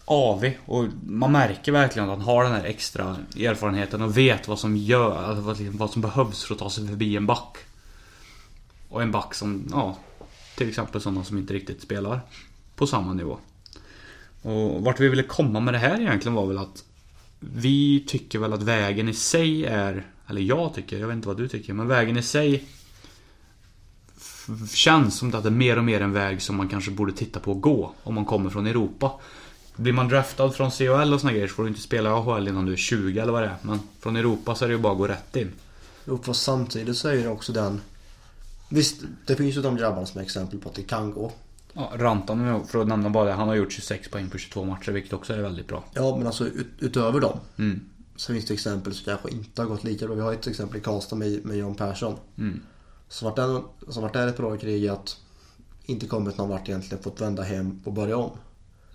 S3: avig och man märker verkligen att han har den här extra erfarenheten och vet vad som gör, alltså vad, liksom, vad som behövs för att ta sig förbi en back. Och en back som, ja, till exempel sådana som inte riktigt spelar på samma nivå. Och vart vi ville komma med det här egentligen var väl att vi tycker väl att vägen i sig är, eller jag tycker, jag vet inte vad du tycker, men vägen i sig f- känns som att det är mer och mer en väg som man kanske borde titta på att gå om man kommer från Europa. Blir man draftad från CHL och såna grejer så får du inte spela i AHL innan du är 20 eller vad det är. Men från Europa så är det ju bara att gå rätt in.
S2: Och fast samtidigt så är det också den... Visst, det finns ju de grabbarna som är exempel på att det kan gå.
S3: Ja, Rantan, för att nämna bara det, han har gjort 26 poäng på 22 matcher vilket också är väldigt bra.
S2: Ja, men alltså ut, utöver dem.
S3: Mm.
S2: Så finns det exempel som kanske inte har gått lika bra. Vi har ju till exempel i Karlstad med, med John Persson.
S3: Mm.
S2: Som vart där- som vart där ett bra krig i att inte kommit någon vart egentligen, fått vända hem och börja om.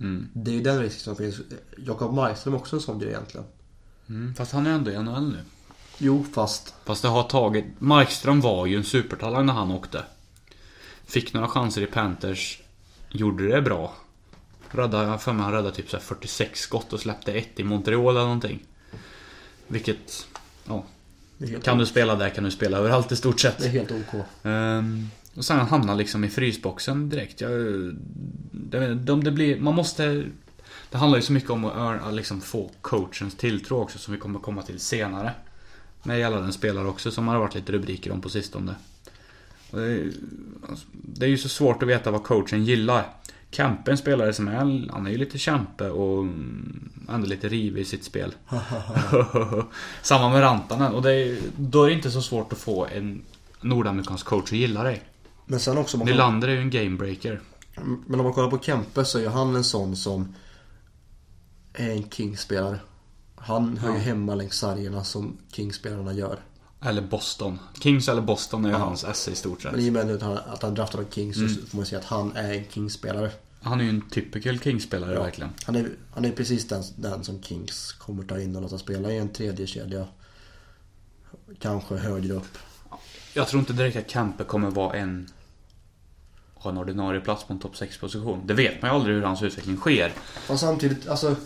S3: Mm.
S2: Det är ju den risken som finns. Jakob Markström är också en sån grej egentligen.
S3: Mm, fast han är ändå i NHL nu.
S2: Jo, fast
S3: Fast det har tagit... Markström var ju en supertalang när han åkte. Fick några chanser i Panthers. Gjorde det bra. Räddade, jag har för mig han räddade typ så här 46 skott och släppte ett i Montreal eller någonting. Vilket... Ja. Kan du spela där kan du spela överallt i stort sett.
S2: det är helt OK.
S3: Ehm, och sen han hamnar liksom i frysboxen direkt. Jag, jag vet inte, om det blir, man måste... Det handlar ju så mycket om att earna, liksom få coachens tilltro också som vi kommer komma till senare. Med gällande en spelare också som har varit lite rubriker om på sistone. Och det, är- alltså, det är ju så svårt att veta vad coachen gillar. Kempe är en spelare som är, han är ju lite kämpe och mm, ändå lite rivig i sitt spel. Samma med Rantanen och det är, då är det inte så svårt att få en nordamerikansk coach att gilla dig.
S2: Men sen också... om man-
S3: Nylander är ju en gamebreaker.
S2: Men om man kollar på Kempe så är ju han en sån som är en Kings-spelare. Han hör ju hemma längs sargerna som Kings-spelarna gör.
S3: Eller Boston. Kings eller Boston är ju hans esse i stort
S2: Men
S3: sett.
S2: i och med att han, att han draftade Kings
S3: Mm.
S2: så får man säga att han är en Kings-spelare.
S3: Han är ju en typical Kings-spelare verkligen.
S2: Han är, han är precis den, den som Kings kommer ta in och låta spela i en tredje kedja Kanske högre upp.
S3: Jag tror inte direkt att Kempe kommer vara en... Ha en ordinarie plats på en topp 6-position. Det vet man ju aldrig hur hans utveckling sker.
S2: Och samtidigt, alltså.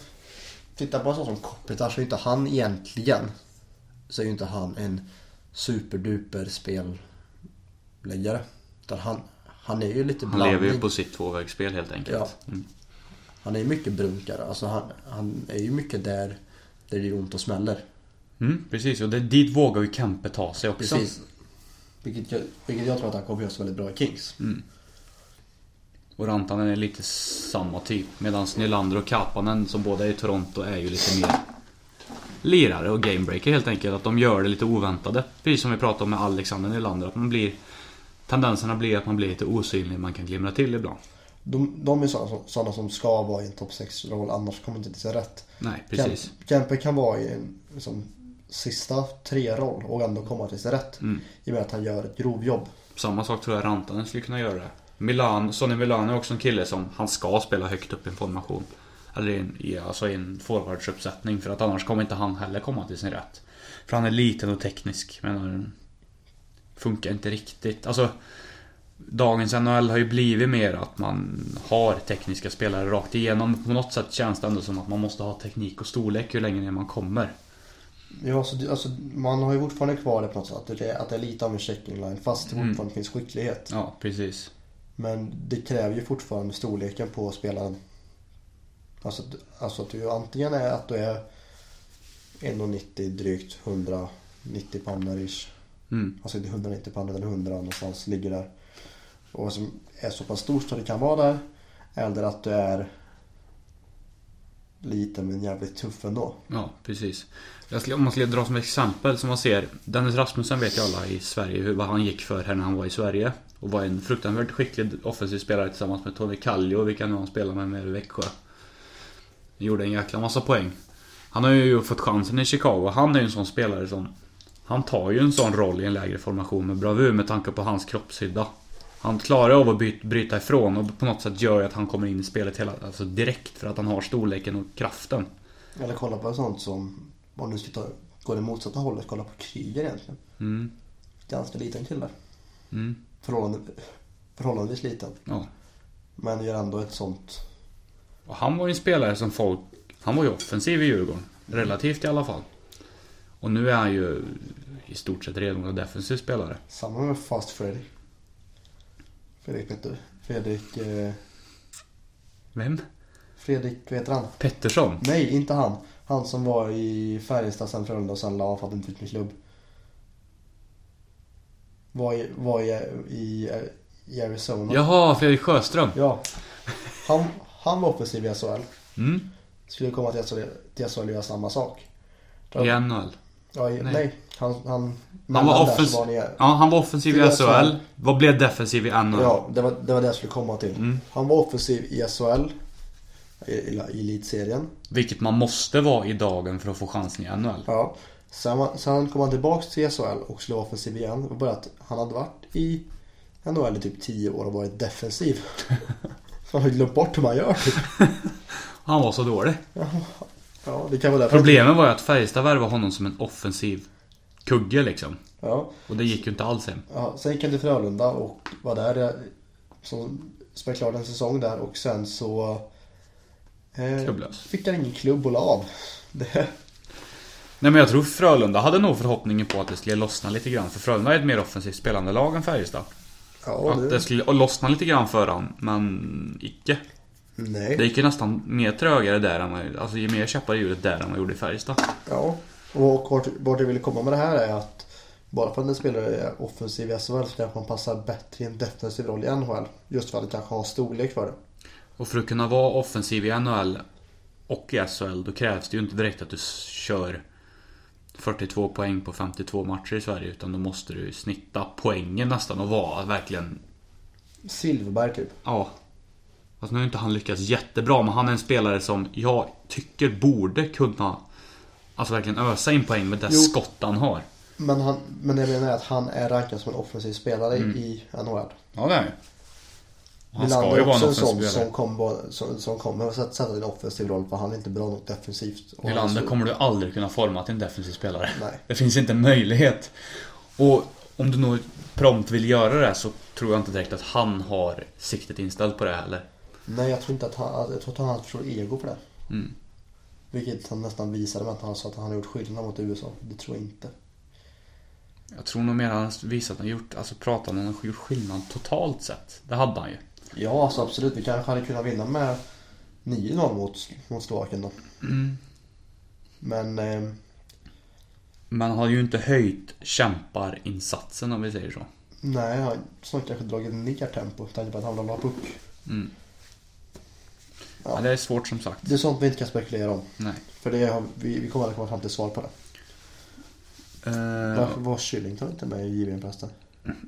S2: Titta på en sån som Kopitar så är inte han egentligen. Så är ju inte han en superduper spelläggare. Utan han, han är ju lite
S3: Han
S2: blandning.
S3: lever ju på sitt Mm. tvåvägsspel helt enkelt.
S2: Ja. Han är ju mycket brunkare. Alltså han, han är ju mycket där, där det gör ont och smäller.
S3: Mm, precis, och det, dit vågar ju Kempe ta sig också.
S2: Precis. Vilket jag, vilket jag tror att han kommer göra så väldigt bra i Kings.
S3: Mm. Och Rantanen är lite samma typ. Medan Nylander och Kapanen som båda är i Toronto är ju lite mer lirare och gamebreaker helt enkelt. Att de gör det lite oväntade. Precis som vi pratade om med Alexander Nylander. Att man blir, tendenserna blir att man blir lite osynlig, man kan glimra till ibland.
S2: De, de är sådana som, sådana som ska vara i en topp 6-roll annars kommer det inte till sin rätt.
S3: Nej, precis.
S2: Kemp- Kempe kan vara i en liksom, sista tre-roll och ändå komma till sin rätt.
S3: Mm.
S2: I och med att han gör ett grovjobb.
S3: Samma sak tror jag Rantanen skulle kunna göra. Milan, Sonny Milan är också en kille som, han ska spela högt upp i en formation. Eller i en, i, alltså i en forwardsuppsättning för att annars kommer inte han heller komma till sin rätt. För han är liten och teknisk, men han funkar inte riktigt. Alltså, dagens NHL har ju blivit mer att man har tekniska spelare rakt igenom. På något sätt känns det ändå som att man måste ha teknik och storlek ju längre ner man kommer.
S2: Ja, så, det- alltså, man har ju fortfarande kvar det på något sätt. Att det, är- att det är lite av en checking line fast det
S3: Mm.
S2: fortfarande finns skicklighet.
S3: Ja, precis.
S2: Men det kräver ju fortfarande storleken på spelaren. Alltså, att- alltså att du antingen är att du är 1,90 drygt 190 pannor ish.
S3: Mm.
S2: Alltså inte 190 pannor eller 100 någonstans ligger där. Och som är så pass stor så det kan vara där. Eller att du är liten men jävligt tuff ändå.
S3: Ja, precis. Jag skulle, om man skulle dra som exempel som man ser. Dennis Rasmussen vet ju alla i Sverige hur, vad han gick för här när han var i Sverige. Och var en fruktansvärt skicklig offensiv spelare tillsammans med Tony Kallio, vilka nu han spelar med med i Växjö. Gjorde en jäkla massa poäng. Han har ju fått chansen i Chicago. Han är ju en sån spelare som... Han tar ju en sån roll i en lägre formation med bravur med tanke på hans kroppshydda. Han klarar av att byt, bryta ifrån och på något sätt gör ju att han kommer in i spelet hela, alltså direkt för att han har storleken och kraften.
S2: Eller kolla på sånt som, om du ska ta, gå det motsatta hållet, kolla på Kryger egentligen.
S3: Mm.
S2: Ganska liten kille.
S3: Mm.
S2: Förhållande, förhållandevis liten.
S3: Ja.
S2: Men gör ändå ett sånt...
S3: Och han var ju en spelare som folk... Han var ju offensiv i Djurgården. Relativt i alla fall. Och nu är han ju i stort sett redan en defensiv spelare.
S2: Samma med Fast Fredrik. Fredrik Petter. Fredrik... Eh,
S3: Vem?
S2: Fredrik, vad heter han?
S3: Pettersson?
S2: Nej, inte han. Han som var i Färjestad sen Frölunda och sen la av för att inte fick med klubb. Var i, var i, i, i Arizona.
S3: Jaha, Fredrik Sjöström.
S2: ja. Han, han var offensiv i SHL.
S3: Mm.
S2: Skulle komma till SHL, till SHL och göra samma sak. Då-
S3: I NHL.
S2: Ja, i,
S3: Nej.
S2: nej. han... Han,
S3: Han var,
S2: mellan där så
S3: offens...
S2: var han i-
S3: ja, han var offensiv i
S2: Det är
S3: SHL. Vad blev defensiv i NHL?
S2: Ja, det var, det var det jag skulle komma till.
S3: Mm.
S2: Han var offensiv i SHL, i, i, i elitserien.
S3: Vilket man måste vara i dagen för att få chansen i NHL.
S2: Ja. Sen, var- sen kom han tillbaks till SHL och skulle vara offensiv igen. Och bara att han hade varit i NHL i typ 10 år och varit defensiv. Så han har glömt bort hur man gör typ.
S3: Han var så dålig.
S2: Ja, det kan vara därför.
S3: Problemet var ju att Färjestad värvade honom som en offensiv kugge liksom.
S2: Ja.
S3: Och det gick ju inte alls hem.
S2: Ja, sen gick han till Frölunda och var där eh, som spelade klart en säsong där och sen så eh,
S3: Klubblös.
S2: fick han ingen klubb och la av. Det,
S3: Nej men jag tror Frölunda hade nog förhoppningen på att det skulle lossna lite grann. För Frölunda är ett mer offensivt spelande lag än Färjestad.
S2: ja,
S3: att det skulle lossna lite grann för han, men icke.
S2: nej.
S3: Det gick ju nästan mer trögare där än man, alltså ju mer käppar i hjulet där än man gjorde i Färjestad.
S2: Ja, och vart, vart jag ville komma med det här är att bara för att en spelare är offensiv i SHL så kanske man passar bättre i en defensiv roll i NHL. Just för att det kanske har storlek för det.
S3: Och för att kunna vara offensiv i NHL och i SHL, då krävs det ju inte direkt att du s- kör 42 poäng på 52 matcher i Sverige, utan då måste du ju snitta poängen nästan och vara verkligen
S2: Silverberg typ.
S3: Ja. Alltså nu har inte han lyckats jättebra, men han är en spelare som jag tycker borde kunna... Alltså verkligen ösa in poäng med det
S2: Jo.
S3: skott han har.
S2: Men, han, men det jag menar är att han är rankad som en offensiv spelare
S3: Mm.
S2: i NHL.
S3: Ja, det är han Han
S2: Nylander
S3: ska
S2: är
S3: ju vara en
S2: också en
S3: offensiv
S2: sån
S3: spelare.
S2: som kommer som, som kommer att sätta- sätta en offensiv roll för han är inte bra nog defensivt. Och alltså- han är
S3: Nylander
S2: så-
S3: kommer du aldrig kunna forma till en defensiv spelare.
S2: Nej.
S3: Det finns inte en möjlighet. Och om du nog prompt vill göra det så tror jag inte direkt att han har siktet inställt på det heller.
S2: Nej, jag tror inte att han, jag tror att han har för ego för det.
S3: Mm.
S2: Vilket han nästan visade med att han sa att han har gjort skillnad mot USA. Det tror jag inte.
S3: Jag tror nog mer han har visat att han gjort, alltså pratat om att han har gjort skillnad totalt sett. Det hade han ju.
S2: Ja, alltså absolut. Vi kanske hade kunnat vinna med 9-0 mot, mot Slovakien då.
S3: Mm.
S2: Men eh,
S3: Men har ju inte höjt kämparinsatsen om vi säger så.
S2: nej, han har snart kanske dragit ner tempo med tanke på att han vill ha puck.
S3: Ja. det är svårt som sagt.
S2: Det är sånt vi inte kan spekulera om.
S3: Nej.
S2: För det har, vi, vi kommer aldrig komma fram till svar på det.
S3: Eh,
S2: Varför var Kyllington inte med i JVM-festen?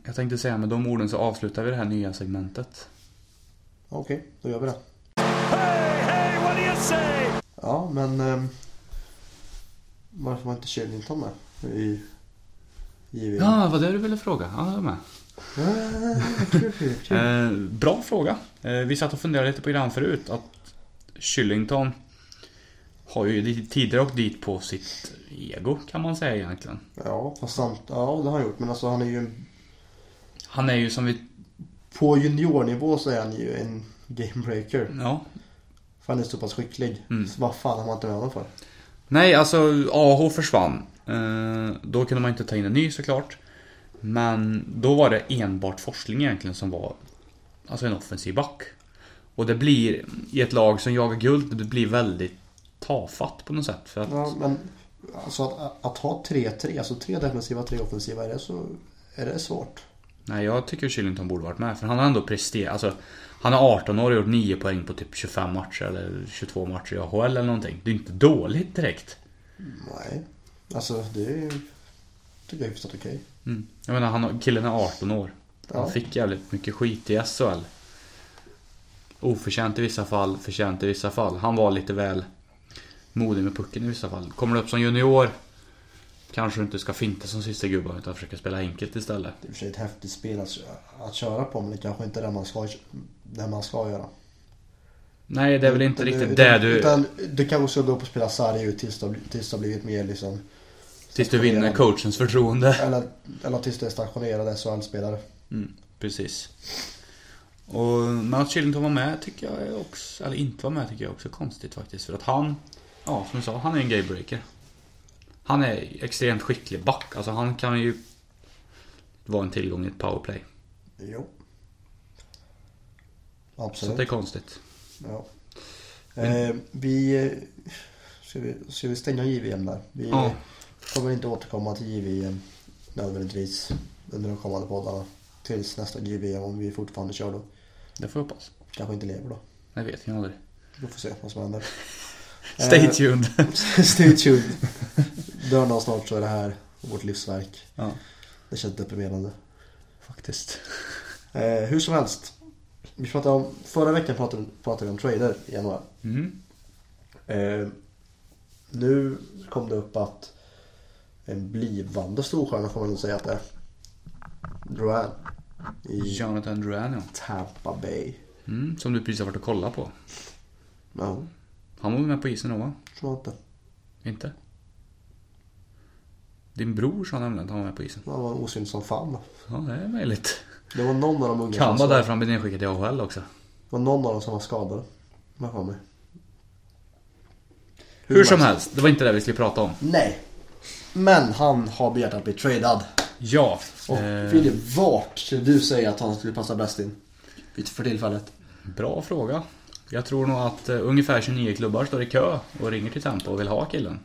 S3: jag tänkte säga med de orden så avslutar vi det här nya segmentet.
S2: Okej, då gör vi det.
S4: Hey, hey, what do you say?
S2: Ja, men eh, varför var inte Kyllington med i JVM?
S3: Ja, vad det du ville fråga. Ja, jag är med.
S2: Ah, kul, kul, kul.
S3: Eh, bra fråga. Eh, vi satt och funderade lite på grann förut att Kyllington har ju tidigare åkt dit på sitt ego kan man säga egentligen.
S2: Ja, fast samt, ja det har han gjort. Men alltså han är ju en
S3: Han är ju som vi...
S2: På juniornivå så är han ju en gamebreaker.
S3: Ja.
S2: För han är så pass skicklig. Så vad fan har man inte med honom för?
S3: Nej, alltså AH försvann. Eh, då kunde man inte ta in en ny såklart. Men då var det enbart Forsling egentligen som var alltså en offensiv back. Och det blir, i ett lag som jagar guld, det blir väldigt tafatt på något sätt. För att,
S2: Ja, men alltså att, att ha 3-3, alltså tre defensiva, tre offensiva, är det så är det svårt.
S3: Nej, jag tycker Chillington borde varit med. För han har ändå presterat. Alltså, han är 18 år och gjort 9 poäng på typ 25 matcher eller 22 matcher i AHL eller någonting. Det är inte dåligt direkt.
S2: Nej, alltså det är ju... Tycker jag är hyfsat okej.
S3: Mm. Jag menar, han, killen är 18 år. Han
S2: Ja.
S3: fick jävligt mycket skit i SHL. Oförtjänt i vissa fall, förtjänt i vissa fall. Han var lite väl modig med pucken i vissa fall. Kommer du upp som junior kanske du inte ska finta som sista gubben utan försöka spela enkelt istället.
S2: Det är i och för sig ett häftigt spel att, att köra på, men det kanske inte är det man ska, det man ska göra.
S3: Nej, det är väl inte
S2: Utan-
S3: riktigt
S2: utan,
S3: det du...
S2: Utan du kanske ska gå upp och spela sarg ut tills det, har bli- tills det har blivit mer liksom...
S3: Tills du vinner coachens förtroende.
S2: Eller, eller tills det är stationerade SHL-spelare.
S3: Mm, precis. Och, men att Chillington var med tycker jag är också, eller inte var med tycker jag också är konstigt faktiskt. För att han, ja som du sa, han är en gaybreaker. Han är extremt skicklig back. Alltså han kan ju vara en tillgång i ett powerplay.
S2: Jo.
S3: Så
S2: Absolut.
S3: att det är konstigt.
S2: Ja. Eh, vi, eh, ska vi... Ska vi stänga JVM där? Vi
S3: Ja.
S2: kommer inte återkomma till JVM nödvändigtvis under de kommande poddarna. Tills nästa JVM om vi fortfarande kör då.
S3: Det får jag hoppas.
S2: Kanske inte lever då.
S3: Det vet jag aldrig.
S2: Vi får se vad som händer.
S3: Stay
S2: Eh,
S3: tuned.
S2: Stay tuned. Dör någon snart så är det här vårt livsverk.
S3: ja,
S2: Det känns deprimerande.
S3: faktiskt.
S2: Eh, hur som helst. Vi pratade om, förra veckan pratade, pratade vi om trader i januari.
S3: Mm.
S2: Eh, nu kom det upp att en blivande storstjärna får man nog säga att det är. Duran. I
S3: Jonathan Duran ja.
S2: Tampa Bay.
S3: Mm, som du precis har varit och kollat på.
S2: Ja,
S3: Han var väl med på isen då va?
S2: tror jag inte.
S3: Inte? Din bror sa nämligen att han var med på isen.
S2: Han var osynlig som fan.
S3: Ja, det är möjligt.
S2: Det var någon av de unga
S3: Kan
S2: som
S3: vara därför han blev nedskickad i AHL också.
S2: Det var någon av dem som var skadad. Vad har jag för mig.
S3: Hur som helst, det var inte det vi skulle prata om.
S2: Nej. Men han har begärt att bli tradad.
S3: Ja.
S2: Och
S3: Eh,
S2: Fille, vart skulle du säga att han skulle passa bäst in? För tillfället.
S3: bra fråga. Jag tror nog att eh, ungefär 29 klubbar står i kö och ringer till Tempo och vill ha killen.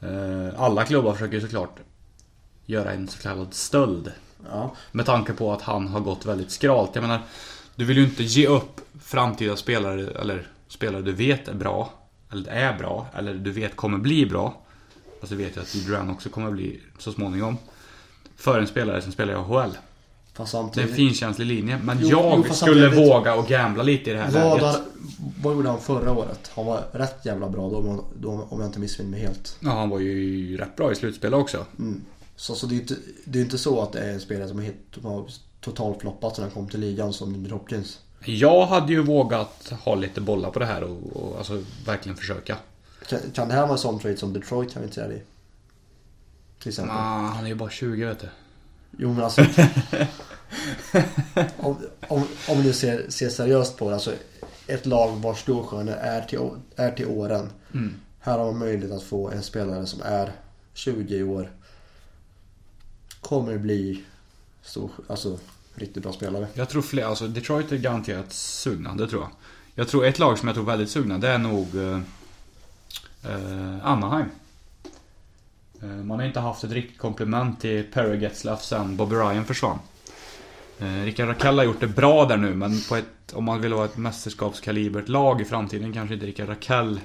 S3: Eh, alla klubbar försöker ju såklart göra en så kallad stöld.
S2: Ja.
S3: Med tanke på att han har gått väldigt skralt. Jag menar, du vill ju inte ge upp framtida spelare, eller spelare du vet är bra, eller är bra, eller du vet kommer bli bra. Alltså du vet ju att Duran också kommer bli så småningom. För en spelare som spelar i AHL.
S2: Fast
S3: Det är en
S2: samtidigt.
S3: finkänslig linje, men
S2: Jo,
S3: jag
S2: jo, fast
S3: skulle
S2: samtidigt-
S3: våga och gambla lite i det här
S2: Vad,
S3: läget.
S2: han, vad gjorde han förra året? Han var rätt jävla bra då, om jag- då om jag inte missminner mig helt.
S3: Ja, han var ju rätt bra i slutspelet också.
S2: Så, så det är ju inte, det är inte så att det är en spelare som är helt, som har totalfloppat sen han kom till ligan som Jimmy Hopkins.
S3: Jag hade ju vågat ha lite bollar på det här och, och alltså verkligen försöka.
S2: Kan, kan det här vara en sån trade som Detroit kan vi inte säga det i? Till exempel.
S3: Ah, han är ju bara 20 vet du.
S2: Jo men alltså. om, om, om du ser, ser seriöst på det. Alltså, ett lag vars storstjärnor är till, å- är till åren. Här har man möjlighet att få en spelare som är 20 år. Kommer bli stor, alltså, riktigt bra spelare.
S3: Jag tror fler, alltså Detroit är garanterat sugna, det tror jag. Jag tror ett lag som jag tror är väldigt sugna, det är nog eh, eh, Anaheim. Eh, man har inte haft ett riktigt komplement till Perry Getzlaff sen Bobby Ryan försvann. Eh, Rickard Rakell har gjort det bra där nu, men på ett, om man vill vara ett mästerskapskalibert lag i framtiden kanske inte Rickard Rakell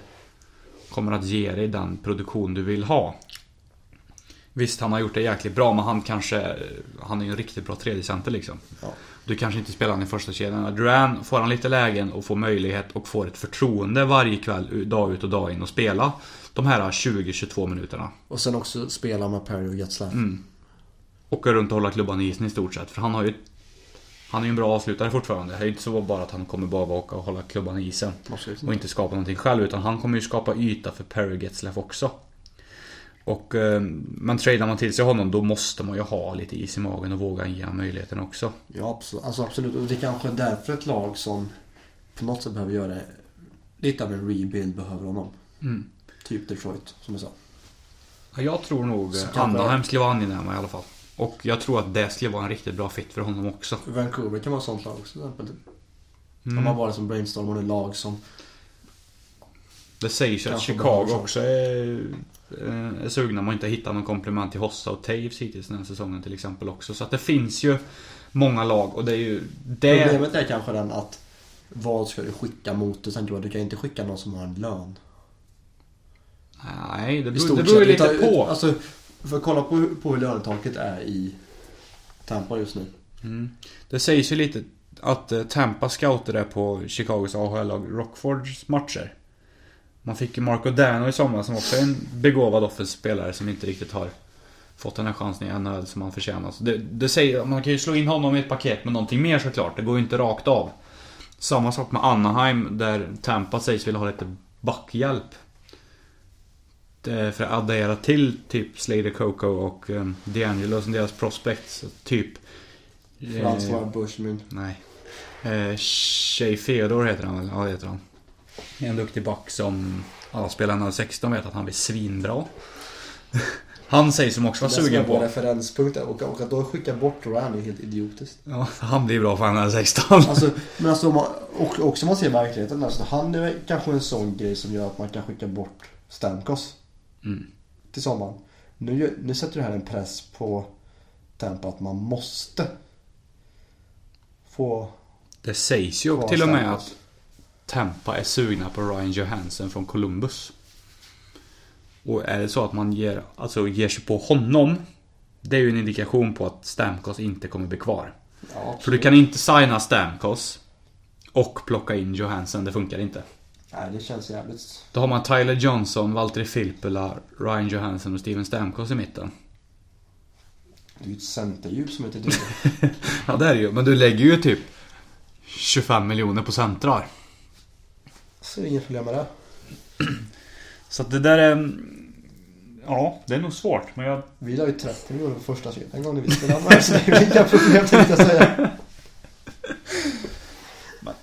S3: kommer att ge dig den produktion du vill ha. Visst, han har gjort det jäkligt bra, men han kanske... eh, Han är ju en riktigt bra tredjecenter liksom.
S2: Ja.
S3: Du kanske inte spelar han i första kedjan. Duran får han lite lägen och får möjlighet och får ett förtroende varje kväll, dag ut och dag in och spela de här 20-22 minuterna.
S2: Och sen också spela med Perry och Getzlaff.
S3: Åka runt och hålla klubban i isen i stort sett, för han har ju Han är ju en bra avslutare fortfarande. Det är ju inte så bara att han kommer baka och hålla klubban i isen.
S2: Absolut
S3: Och inte skapa någonting själv utan han kommer ju skapa yta för Perry Getzlaff också. Och, eh, men tradar man till sig honom då måste man ju ha lite is i magen och våga ge honom möjligheten också.
S2: Ja, absolut. Alltså, absolut. Och det kanske är därför ett lag som på något sätt behöver göra lite av en rebuild behöver honom.
S3: Mm.
S2: Typ Detroit, som jag sa.
S3: Ja, Jag tror nog
S2: Så
S3: eh,
S2: kan det-
S3: Anaheim skulle vara angenäma i alla fall. Och jag tror att det skulle vara en riktigt bra fit för honom också.
S2: Vancouver kan vara ett sånt lag också, till exempel.
S3: Mm.
S2: De har bara som brainstormande lag som...
S3: Det sägs ju att
S2: Kanske
S3: Chicago
S2: bra också.
S3: också är, eh, är sugna om att inte hitta någon komplement till Hossa och Taves hittills den här säsongen till exempel också. Så att det finns ju många lag och det är ju det...
S2: Problemet är kanske den att vad ska du skicka mot det? Sen tror jag du kan inte skicka någon som har en lön.
S3: Nej, det
S2: I
S3: beror,
S2: stort
S3: det beror ju
S2: sett.
S3: lite
S2: Utan-
S3: på.
S2: Alltså, för kolla på, hur- på hur lönetaket är i Tampa just nu.
S3: Mm. Det sägs ju lite att eh, Tampa scouter är på Chicagos AHL-lag Rockfords matcher. Man fick ju Marco Dano i sommar som också är en begåvad offensiv spelare som inte riktigt har fått den här chansen i NHL som han förtjänar. Så det, det säger, man kan ju slå in honom i ett paket med någonting mer såklart. Det går ju inte rakt av. Samma sak med Anaheim där Tampa sägs vilja ha lite backhjälp. Det- För att addera till typ Slater Coco och eh, DeAngelo som deras prospects. Typ...
S2: För han svarar Bushmin.
S3: Nej. Eh, Shay Theodore heter han väl? Ja, det heter han. En duktig back som alla spelare när 16 vet att han blir svinbra. Han sägs som också vara sugen
S2: Det är
S3: på...
S2: referenspunkter och, och att då skicka bort Ryan är helt idiotiskt.
S3: Ja, han blir bra för när 16.
S2: Alltså, men alltså om man, och också om man ser verkligheten. Alltså, han är väl kanske en sån grej som gör att man kan skicka bort Stamkos.
S3: Mm.
S2: Till sommaren. Nu, gör- nu sätter det här en press på Tampa att man måste få
S3: Det sägs ju
S2: kvar
S3: till och med
S2: Stamkos.
S3: att Tampa är sugna på Ryan Johansson från Columbus. Och är det så att man ger, alltså ger sig på honom. Det är ju en indikation på att Stamkos inte kommer bli kvar.
S2: Ja,
S3: För du kan inte signa Stamkos och plocka in Johansson, det funkar inte.
S2: nej, det känns jävligt...
S3: Då har man Tyler Johnson, Valtteri Filppula, Ryan Johansson och Steven Stamkos i mitten.
S2: Det är ju ett centerdjup som heter duga.
S3: Ja, det är det ju. Men du lägger ju typ 25 miljoner på centrar.
S2: Så det är inget problem med det.
S3: Så att det där är... mm, Ja, det är nog svårt, men jag...
S2: Vi la ju 30 miljoner på första sidan en gång i Visby. Så det är ju inga problem tänkte jag säga.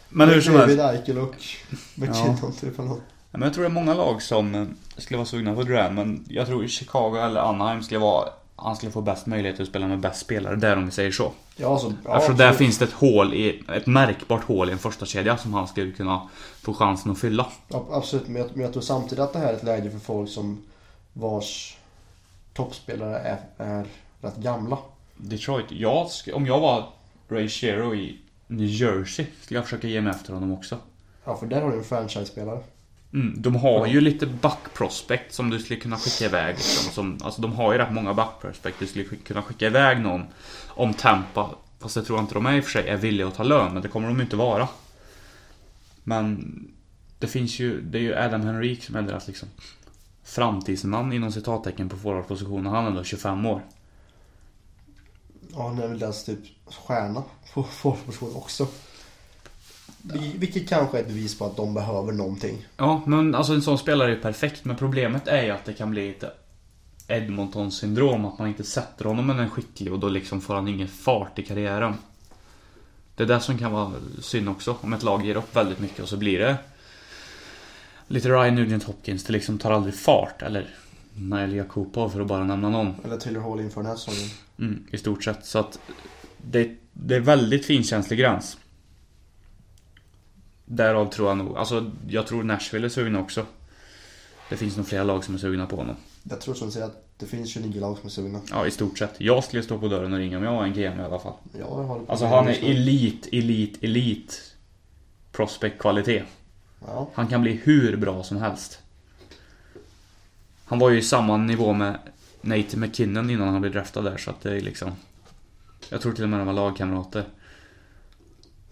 S3: Men hur som helst.
S2: David Eichel och McKinnon typ eller något.
S3: Men jag tror det är många lag som eh, skulle vara sugna på Duran, men jag tror Chicago eller Anaheim skulle vara... Han skulle få bäst möjlighet att spela med bäst spelare där om vi säger så.
S2: Ja, alltså, ja,
S3: Eftersom där
S2: absolut.
S3: finns det ett hål i, ett märkbart hål i en första kedja som han skulle kunna få chansen att fylla.
S2: Ja, absolut, men jag, men jag tror samtidigt att det här är ett läge för folk som vars toppspelare är, är rätt gamla.
S3: Detroit, jag, sk- om jag var Ray Shero i New Jersey skulle jag försöka ge mig efter honom också.
S2: Ja, för där har du en franchise-spelare.
S3: Mm, de har ju lite backprospect som du skulle kunna skicka iväg. Liksom, som, alltså de har ju rätt många backprospect. Du skulle sk- kunna skicka iväg någon om Tampa, fast det tror jag inte de är i och för sig, är villiga att ta lön. Men det kommer de ju inte vara. Men det finns ju, det är ju Adam Henrik som är deras liksom framtidsman inom citattecken på forwardpositionen. Han är ändå 25 år.
S2: Ja, han är väl deras typ stjärna på forwardposition också. Vi- Vilket kanske är ett bevis på att de behöver någonting.
S3: Ja, men alltså en sån spelare är ju perfekt. Men problemet är ju att det kan bli lite Edmonton syndrom. Att man inte sätter honom med en skicklig och då liksom får han ingen fart i karriären. Det är det som kan vara synd också. Om ett lag ger upp väldigt mycket och så blir det lite Ryan Nugent Hopkins. Det liksom tar aldrig fart. Eller Nail Jakupov för att bara nämna någon.
S2: Eller Taylor Hall inför den här säsongen.
S3: Mm, I stort sett. Så att det, det är väldigt finkänslig gräns. Därav tror jag nog, alltså jag tror Nashville är sugna också. Det finns nog flera lag som är sugna på honom.
S2: Jag tror som du säger att det finns 29 lag som är sugna.
S3: Ja, i stort sett. Jag skulle stå på dörren och ringa om jag var en GM i alla fall.
S2: Ja, det har du
S3: Alltså han är elit, elit, elit. Prospect-kvalitet.
S2: Ja,
S3: Han kan bli hur bra som helst. Han var ju i samma nivå med Nate McKinnon innan han blev draftad där så att det är liksom... Jag tror till och med de var lagkamrater.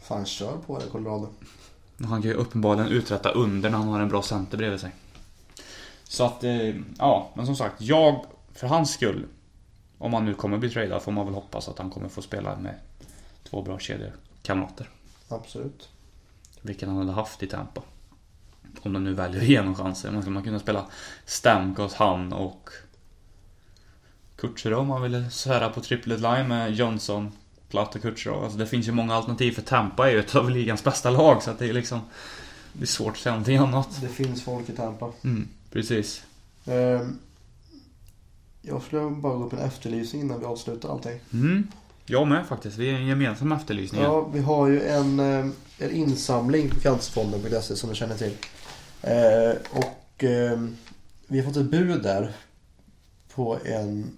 S2: fan kör på det Colorado.
S3: Men Han kan ju uppenbarligen uträtta under när han har en bra center bredvid sig. Så att, eh, ja, men som sagt, jag, för hans skull, om han nu kommer bli tradad, får man väl hoppas att han kommer få spela med Två bra kedjekamrater.
S2: Absolut.
S3: Vilken han hade haft i Tampa. Om de nu väljer att ge någon chans. Man skulle man kunna spela Stamkos, han och Kutjerov om man ville svära på triplet line med Johnson, Platt och Kutjerov. Alltså det finns ju många alternativ för Tampa är ju ett av ligans bästa lag så att det är liksom... Det är svårt att säga någonting annat.
S2: Det finns folk i Tampa.
S3: Mm, precis.
S2: Ehm, jag skulle bara gå på en efterlysning innan vi avslutar allting.
S3: Mm. Jag med faktiskt. Vi är en gemensam efterlysning.
S2: Ja, vi har ju en, eh, en insamling på cancerfonden.se som ni känner till. Eh, och eh, vi har fått ett bud där på en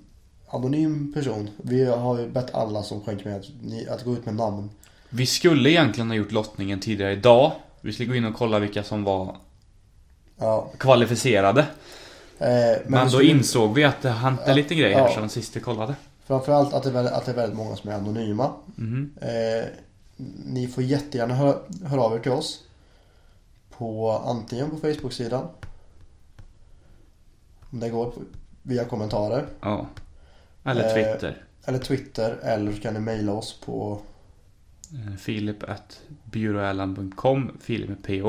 S2: anonym person. Vi har ju bett alla som skänker med att, ni- att gå ut med namn.
S3: Vi skulle egentligen ha gjort lottningen tidigare idag. Vi skulle gå in och kolla vilka som var
S2: Ja,
S3: kvalificerade.
S2: eh, men
S3: Men,
S2: vi
S3: då
S2: skulle-
S3: insåg vi att det hände
S2: Ja,
S3: lite grejer här
S2: ja.
S3: sen sist vi kollade.
S2: Framförallt att det, är väldigt, att det är väldigt många som är anonyma.
S3: Mhm.
S2: Eh, ni får jättegärna höra, höra av er till oss. På antingen på Facebook-sidan. Om det går via kommentarer.
S3: Ja. Eller
S2: Eh,
S3: Twitter.
S2: Eller Twitter. Eller så kan ni mejla oss på...
S3: Eh, Filip at byråerland.com. Filip med PH.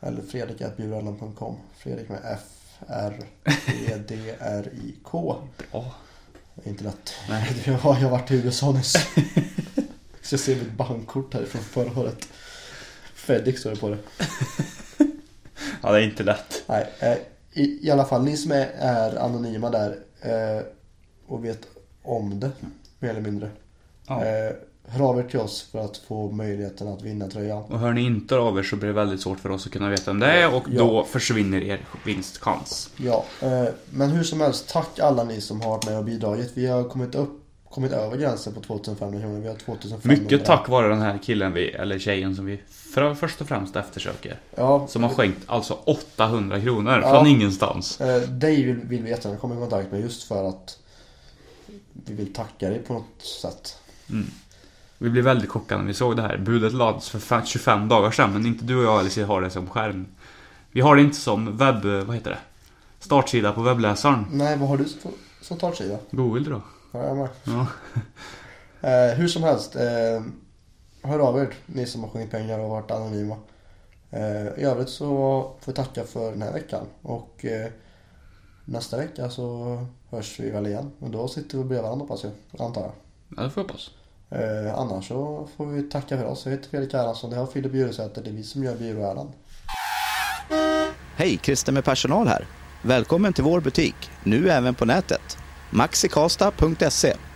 S2: Eller fredrik.bjurallen.com. Fredrik med F. R. E. D. R. I. K.
S3: Ja.
S2: Det är Inte lätt.
S3: Nej.
S2: Jag har, jag har varit i USA nyss. Så jag ser mitt bankkort härifrån förra året. Fredrik står det på det.
S3: ja, det är inte lätt.
S2: Nej, eh, i, i alla fall ni som är, är anonyma där eh, och vet om det, mer eller mindre.
S3: Ja.
S2: Eh, hör av er till oss för att få möjligheten att vinna tröjan.
S3: Och hör ni inte av er så blir det väldigt svårt för oss att kunna veta vem det är och
S2: Ja.
S3: då försvinner er vinstchans.
S2: Ja, eh, men hur som helst, tack alla ni som har varit med och bidragit. Vi har kommit upp kommit över gränsen på 2500 kronor. Vi har 2500.
S3: Mycket tack vare den här killen, vi, eller tjejen som vi för, först och främst eftersöker.
S2: Ja,
S3: Som har skänkt alltså 800 kronor
S2: Ja.
S3: från ingenstans.
S2: eh, dig vill, vill vi jättegärna komma i kontakt med just för att vi vill tacka dig på något sätt.
S3: Vi blev väldigt chockade när vi såg det här. Budet lades för fa- 25 dagar sedan, men inte du och jag Alice har det som skärm. Vi har det inte som webb... Vad heter det? Startsida på webbläsaren.
S2: Nej, vad har du som- som startsida?
S3: Google då.
S2: Ja, jag är med.
S3: Ja.
S2: Eh, hur som helst, eh, hör av er ni som har skänkt pengar och varit anonyma. Eh, I övrigt så får vi tacka för den här veckan och eh, nästa vecka så hörs vi väl igen. Och då sitter vi bredvid varandra hoppas jag, antar jag.
S3: Ja, det får jag hoppas.
S2: Eh, annars så får vi tacka för oss. Jag heter Fredrik Erlandsson, det här var Filip Bjuresäter, det är vi som gör Byråäran.
S1: Hej, Christer med personal här. Välkommen till vår butik, nu även på nätet. maxikasta.se